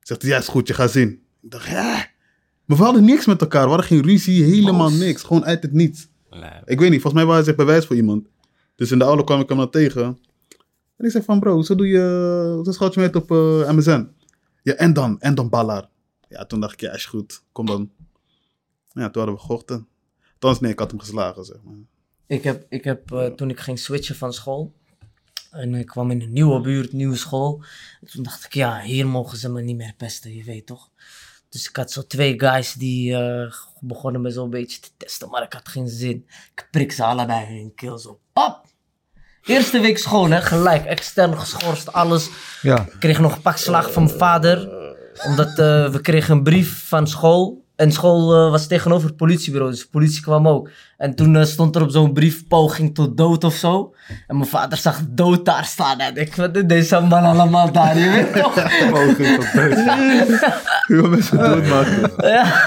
Zegt hij, ja, is goed, je gaat zien. Ik dacht, hè? Maar we hadden niks met elkaar, we hadden geen ruzie, helemaal niks. Gewoon uit het niets. Lijp. Ik weet niet, volgens mij was hij zich bewijs voor iemand. Dus in de auto kwam ik hem dan tegen. En ik zei van, bro, zo doe je, zo schat je mij uit op eh, MSN. Ja, en dan, en dan Ballar. Ja, toen dacht ik, ja, is goed, kom dan. Ja, toen hadden we gevochten. Althans, nee, ik had hem geslagen, zeg maar. Ik heb, ik heb eh, toen ik ging switchen van school. En ik kwam in een nieuwe buurt, nieuwe school. En toen dacht ik, ja, hier mogen ze me niet meer pesten, je weet toch? Dus ik had zo twee guys die eh, begonnen me zo'n beetje te testen, maar ik had geen zin. Ik prik ze allebei in hun keel zo. Pap! Eerste week school, hè, gelijk. Extern geschorst, alles. Ja. Ik kreeg nog een pak slaag van mijn vader. Omdat eh, we kregen een brief van school. En school eh, was tegenover het politiebureau, dus de politie kwam ook. En toen eh, stond er op zo'n brief poging tot dood of zo. En mijn vader zag dood daar staan. En ik, wat doet deze man allemaal daar? Je weet toch? Hoeveel mensen doodmaken? Ja.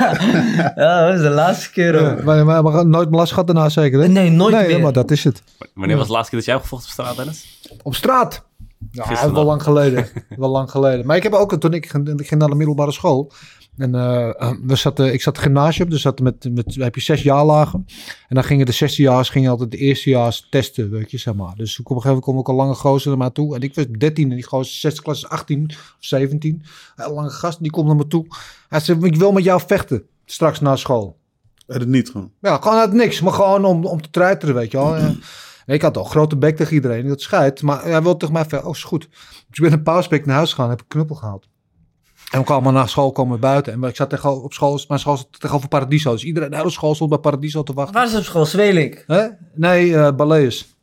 ja, dat was de laatste keer ook. Ja, maar, maar, maar nooit belast gehad daarna zeker, hè? Eh, Nee, nooit nee, meer. maar dat is het. Wanneer was de laatste keer dat jij hebt gevochten op straat, Dennis? Op straat. Ja, Gisteren wel nog. lang geleden. wel lang geleden. Maar ik heb ook, toen ik, ging- ik ging naar de middelbare school. En eh, we zaten, ik zat gymnasium, dus zat met, met, heb je zes jaarlagen. En dan gingen de zesdejaars, gingen altijd de eerstejaars testen, weet je, zeg maar. Dus op een gegeven moment kwam ook een lange gozer naar mij toe. En ik was 13 en die gozer, zesde klas, is 18 of 17. Een lange gast, die komt naar me toe. Hij zegt, ik wil met jou vechten, straks na school. Uit het niet gewoon. Ja, gewoon uit niks. Maar gewoon om, om te treiteren, weet je wel. En ik had al grote bek tegen iedereen. Dat scheidt. Maar hij wilde tegen mij van, oh, is goed. Dus ik ben een paar spreken naar huis gegaan. Heb een knuppel gehaald. En we kwamen na school komen we buiten. En ik zat tegen, op school, mijn school zat tegenover Paradiso. Dus iedereen, de hele school stond bij Paradiso te wachten. Waar is op school? Zweling. Hè? Nee, eh Baleus.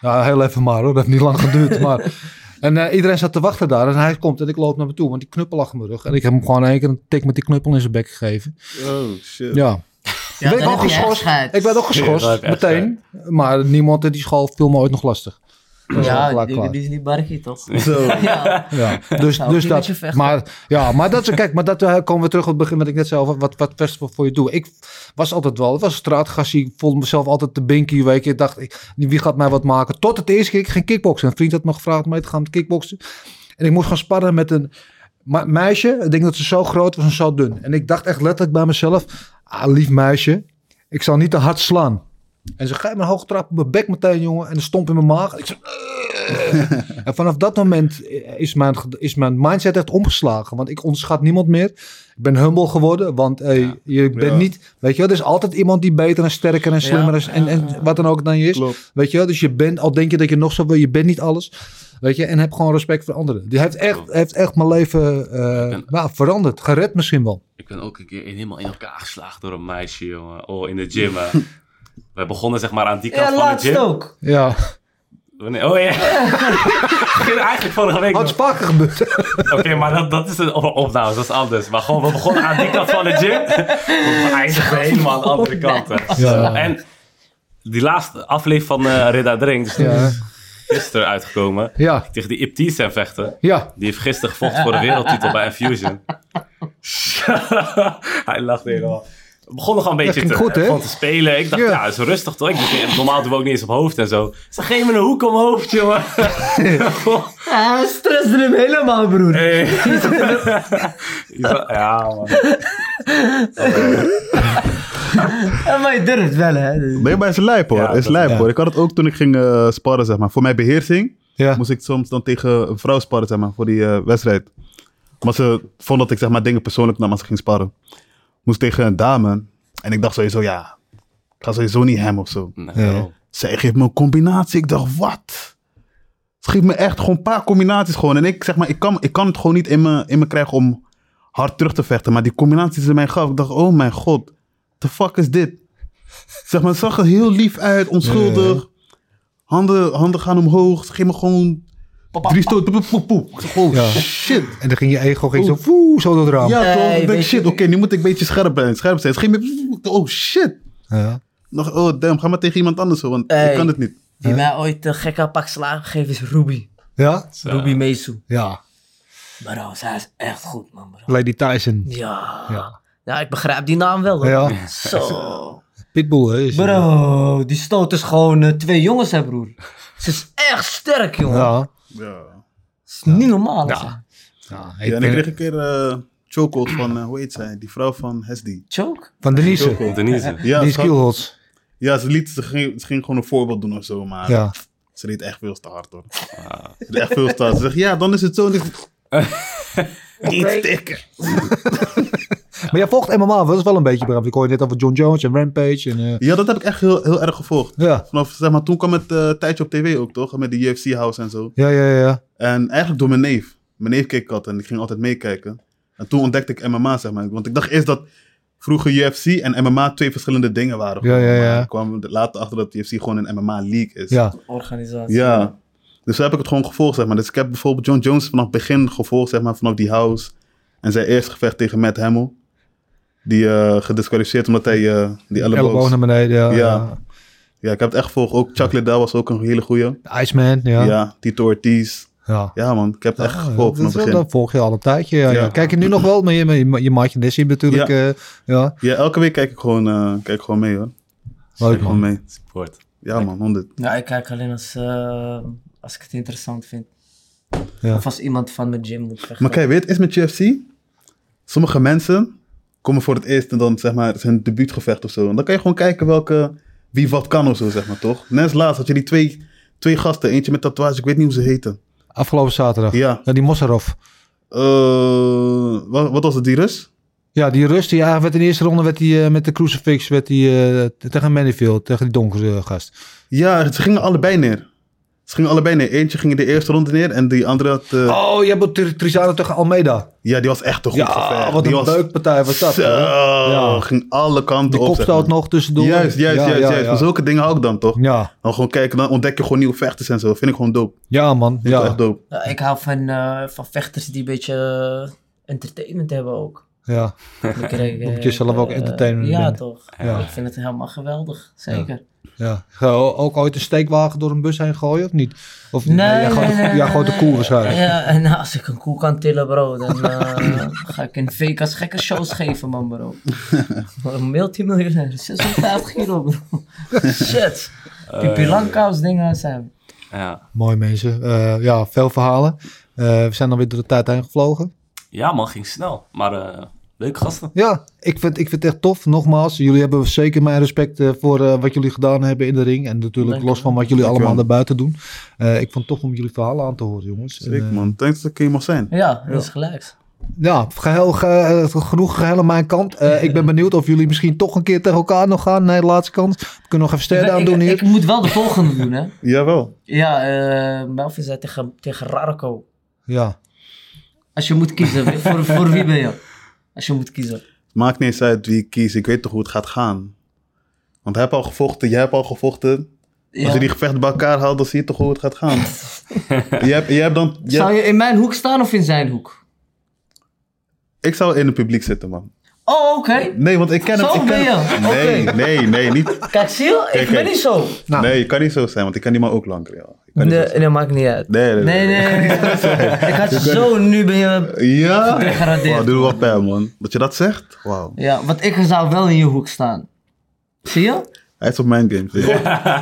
Ja, heel even maar hoor. Dat heeft niet lang geduurd. maar... En eh, iedereen zat te wachten daar. En hij komt en ik loop naar me toe. Want die knuppel lag in mijn rug. En ik heb hem gewoon in één keer een tik met die knuppel in zijn bek gegeven. Oh, shit. Ja. Ja, ik, dan ben ook heb je echt geschorst. scheid. ik ben ook geschorst, Ja, dat heb je echt meteen. Maar niemand in die school viel me ooit nog lastig. Dat is al Ja, klaar, die, klaar. die is niet barkie, toch? Zo. Ja. Ja, dus, Nou, dus die met je dat. vechten. Maar, ja, maar dat, is- kijk, maar dat eh, komen we terug op het begin wat ik net zei over wat, wat festival voor je doet. Ik was altijd wel, het was een straatgassie. Ik voelde mezelf altijd de binky, weet je. Ik dacht, ik, wie gaat mij wat maken? Tot het eerste keer ik ging kickboksen. Een vriend had me gevraagd om mee te gaan kickboksen. En ik moest gaan sparren met een ma- meisje. Ik denk dat ze zo groot was en zo dun. En ik dacht echt letterlijk bij mezelf, ah, lief meisje, ik zal niet te hard slaan. En ze geeft me een hoge trap op mijn bek meteen, jongen. En een stomp in mijn maag. En ik zo, en vanaf dat moment is mijn, ged- is mijn mindset echt omgeslagen. Want ik onderschat niemand meer. Ik ben humble geworden. Want hey, je bent Ja. niet... Weet je wel, er is altijd iemand die beter en sterker en slimmer is en, en wat dan ook dan je is. Klopt. Weet je wel, dus je bent... Al denk je dat je nog zo wil, je bent niet alles. Weet je, en heb gewoon respect voor anderen. Die heeft echt, heeft echt mijn leven eh, nou, veranderd. Gered misschien wel. Ik ben ook een keer in- helemaal in elkaar geslagen door een meisje, jongen. Oh, in de gym, hè. Wij begonnen zeg maar aan die kant Ja, van de laatst gym. ook. Ja. Wanneer- Oh ja. Ging eigenlijk vorige week. nog. Wat is vaker gebeurd. Oké, maar dat, dat is een op- opname, dat is anders. Maar gewoon, we begonnen aan die kant van de gym. We eindigden helemaal aan de andere kant. hè. Ja. En die laatste aflevering van eh Ridda Drink, dus die Ja. is gisteren uitgekomen. Ja. Tegen die Ipties zijn vechten. Ja. Die heeft gisteren gevochten voor de wereldtitel bij Infusion. Hij lacht helemaal. We begonnen gewoon een beetje ging te, goed, hè? gewoon te spelen. Ik dacht, Ja. ja, is rustig toch? Ik dacht, normaal doen we ook niet eens op hoofd en zo. Ze geven me een hoek om mijn hoofd, jongen. Ja, hij stresste hem helemaal, broer. Hey. ja, man. Ja, maar je durft wel, hè. Dus- Nee, maar het is lijp hoor. Ja, Het is dat- lijp ja. hoor. Ik had het ook toen ik ging eh, sparren, zeg maar. Voor mijn beheersing Ja. moest ik soms dan tegen een vrouw sparren, zeg maar, voor die eh, wedstrijd. Maar ze vond dat ik, zeg maar, dingen persoonlijk nam als ik ging sparren. Moest tegen een dame. En ik dacht sowieso, ja, ik ga sowieso niet hem of zo. Nee. Zij geeft me een combinatie. Ik dacht, wat? Ze geeft me echt gewoon een paar combinaties gewoon. En ik zeg maar, ik kan, ik kan het gewoon niet in me, in me krijgen om hard terug te vechten. Maar die combinaties die ze mij gaf, ik dacht, oh mijn god, the fuck is dit? Zeg maar, het zag er heel lief uit, onschuldig. Handen, handen gaan omhoog. Ze geeft me gewoon drie stoten. Poep, poep, poep. Ik zeg, oh Ja. shit. En dan ging je ego ging zo, woe, zo door het raam. Ja, Nee, toch? Ik denk, weet je- shit, oké, nu moet ik een beetje scherp zijn. Scherp zijn. Ze geeft me, oh shit. Ja. Nog, oh damn, ga maar tegen iemand anders, hoor, want Hey. ik kan het niet. Die mij ooit een gekke pak slaag geeft is Ruby. Ja? Ruby Mesu. Ja. Bro, zij is echt goed, man, bro. Lady Tyson. Ja. Ja. ja. ik begrijp die naam wel. hoor. Ja. Zo. Pitbull, hè? is- Bro, die stoot is gewoon eh, twee jongens, hè, broer. Ze is echt sterk, jongen. Ja. Ja. is niet normaal. Ja. zeg. Ja, Ja, en ben- ik kreeg een keer eh chokehold van, eh, hoe heet zij? Die vrouw van Hesdi. Choke. Van Denise. Chokehold. Denise. Ja, Die ze, had- skillhots. ja ze, liet, ze, ging, ze ging gewoon een voorbeeld doen of zo, maar Ja. ze deed echt veel te hard hoor. Ze deed echt veel te hard. Ze zegt, ja, dan is het zo. En ik- Niet stikken. Maar jij volgt MMA, dat is wel een beetje begrijp. Ik hoor je net over John Jones en Rampage. En, eh, Ja, dat heb ik echt heel, heel erg gevolgd. ja. Vanaf, zeg maar, toen kwam het eh, tijdje op tv ook, toch? Met de UFC House en zo. Ja, ja, ja, ja. En eigenlijk door mijn neef. Mijn neef keek altijd en ik ging altijd meekijken. En toen ontdekte ik MMA, zeg maar. Want ik dacht eerst dat vroeger UFC en MMA twee verschillende dingen waren. Ja, ja, ja. Maar ik kwam er later achter dat UFC gewoon een MMA-league is. Ja, Organisatie. Ja. Dus zo heb ik het gewoon gevolgd, zeg maar. Dus ik heb bijvoorbeeld John Jones vanaf het begin gevolgd, zeg maar, vanaf die house. En zijn eerste gevecht tegen Matt Hamill. Die eh, gedisqualificeerd omdat hij eh, die elleboog... elleboog naar beneden. Ja, Ja. Ja, ik heb het echt gevolgd. Ook Chuck Liddell was ook een hele goeie. ja. Eh, Iceman, ja. Ja, ja. Tito Ortiz. Ja man, ik heb het echt Ja, gevolgd dat vanaf is het wel- begin. dat volg je al een tijdje. Ja, ja. Ja. Kijk je nu nog wel, maar je, je, je maatje Nessie natuurlijk. Ja. eh, ja. Ja, elke week kijk ik gewoon, eh, kijk ik gewoon mee hoor. Leuk man. Gewoon mee. Support. Ja man, 100. Ja, ik kijk alleen als, eh, als ik het interessant vind. Ja. Of als iemand van mijn gym moet vechten. Maar kijk, weet je, het is met UFC. Sommige mensen komen voor het eerst en dan zeg maar zijn debuutgevecht of zo. En dan kan je gewoon kijken welke, wie wat kan of zo, zeg maar toch? Net als laatst had je die twee, twee gasten, eentje met tatoeage, ik weet niet hoe ze heten. Afgelopen zaterdag. Ja. die Mossarov. Eh, wat, wat was het, die Rus? Ja, die Rust, die eigenlijk werd in de eerste ronde werd die, eh, met de crucifix werd die, eh, tegen Manifield, tegen die donkere eh, gast. Ja, ze gingen allebei neer. Ze gingen allebei neer. Eentje ging in de eerste ronde neer en die andere had. eh, Oh, je hebt Tri- Trizano tegen Almeida. Ja, die was echt een goed Ja, gevecht. wat die een was, beukpartij was dat. Zo, hoor. Ja. ging alle kanten Die op. zeg kopstoot maar. nog tussendoor. Juist, juist, Ja, juist. ja, juist. ja. Maar zulke dingen hou ik dan toch? Ja, Dan gewoon kijken, dan ontdek je gewoon nieuwe vechters en zo. Vind ik gewoon dope. ja man. Vind ik Ja, echt dope. Ja, ik hou van, eh, van vechters die een beetje eh, entertainment hebben ook. ja. Dan krijg, Moet je zelf ook eh, entertainment Ja, vinden. toch. Ja. Ik vind het helemaal geweldig. Zeker. ja. Ga je o- ook ooit een steekwagen door een bus heen gooien of niet? Of Nee, jij gooit, nee, nee, jij nee, gooit de nee. koe waarschijnlijk. Ja, en nou, als ik een koe kan tillen, bro, dan eh, ga ik in Vegas gekke shows geven, man, bro. Een multimiljonair, 56 kilo, bro. Shit. Die Pilankaus dingen zijn. Ja. Mooi mensen. Eh, ja, veel verhalen. Eh, we zijn dan weer door de tijd heen gevlogen. ja man, ging snel. Maar eh, leuke gasten. Ja, ik vind, ik vind het echt tof. Nogmaals, jullie hebben zeker mijn respect eh, voor eh, wat jullie gedaan hebben in de ring. En natuurlijk Dank je los van wat jullie allemaal daarbuiten doen. Eh, ik vond het tof om jullie verhalen aan te horen, jongens. En, Zeker eh, man. Thanks dat ik hier mag zijn. Ja, dat is gelijk. ja, geheel, ge- eh, genoeg geheel aan mijn kant. Eh, ik ben benieuwd of jullie misschien toch een keer tegen elkaar nog gaan. Nee, de laatste kans. We kunnen nog even sterren aan ik, doen ik, hier. ik moet wel de volgende doen, hè. Jawel. Ja, eh Melvin zei tegen, tegen Rarko. ja. Als je moet kiezen, voor, voor wie ben je? Als je moet kiezen. Maakt niet eens uit wie ik kies. Ik weet toch hoe het gaat gaan. Want hij heeft al gevochten, jij hebt al gevochten. Als je die gevechten bij elkaar haalt, dan zie je toch hoe het gaat gaan. je hebt, je hebt dan, je Zou hebt- je in mijn hoek staan of in zijn hoek? Ik zou in het publiek zitten, man. Oh, oké. Nee, want ik ken Zo hem. Ik ken ben hem. je. Nee, Oké. nee, nee, niet. Kijk, zie je? Ik Kijk, ben kijk. niet zo. Nou. Nee, je kan niet zo zijn, want ik ken die man ook langer. Ja. Ik kan niet zo Nee, zijn. dat maakt niet uit. Nee, nee, Nee, nee. nee. ik had je zo, nu ben je... Ja? Gedegradeerd. Wauw, doe wel pijn, man. Dat je dat zegt? Wauw. Ja, want ik zou wel in je hoek staan. Zie je? Hij is op mijn game. Ja.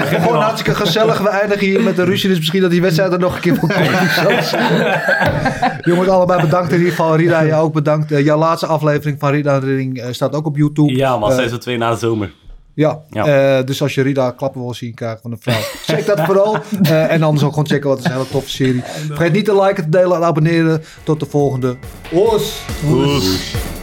Gewoon hartstikke gezellig. We eindigen hier met de ruzie. Dus misschien dat die wedstrijd er nog een keer van komt. Zelfs. Jongens, allebei bedankt in ieder geval. Rida, jij ook bedankt. Eh, jouw laatste aflevering van Rida en de Ring eh, staat ook op YouTube. Ja man, Eh, zijn ze twee na de zomer. ja. Ja. Eh, dus als je Rida klappen wil zien krijgen van een vrouw, check dat vooral. Eh, en anders ook gewoon checken, want het is een hele toffe serie. Vergeet niet te liken, te delen en abonneren. Tot de volgende. Os! Oes.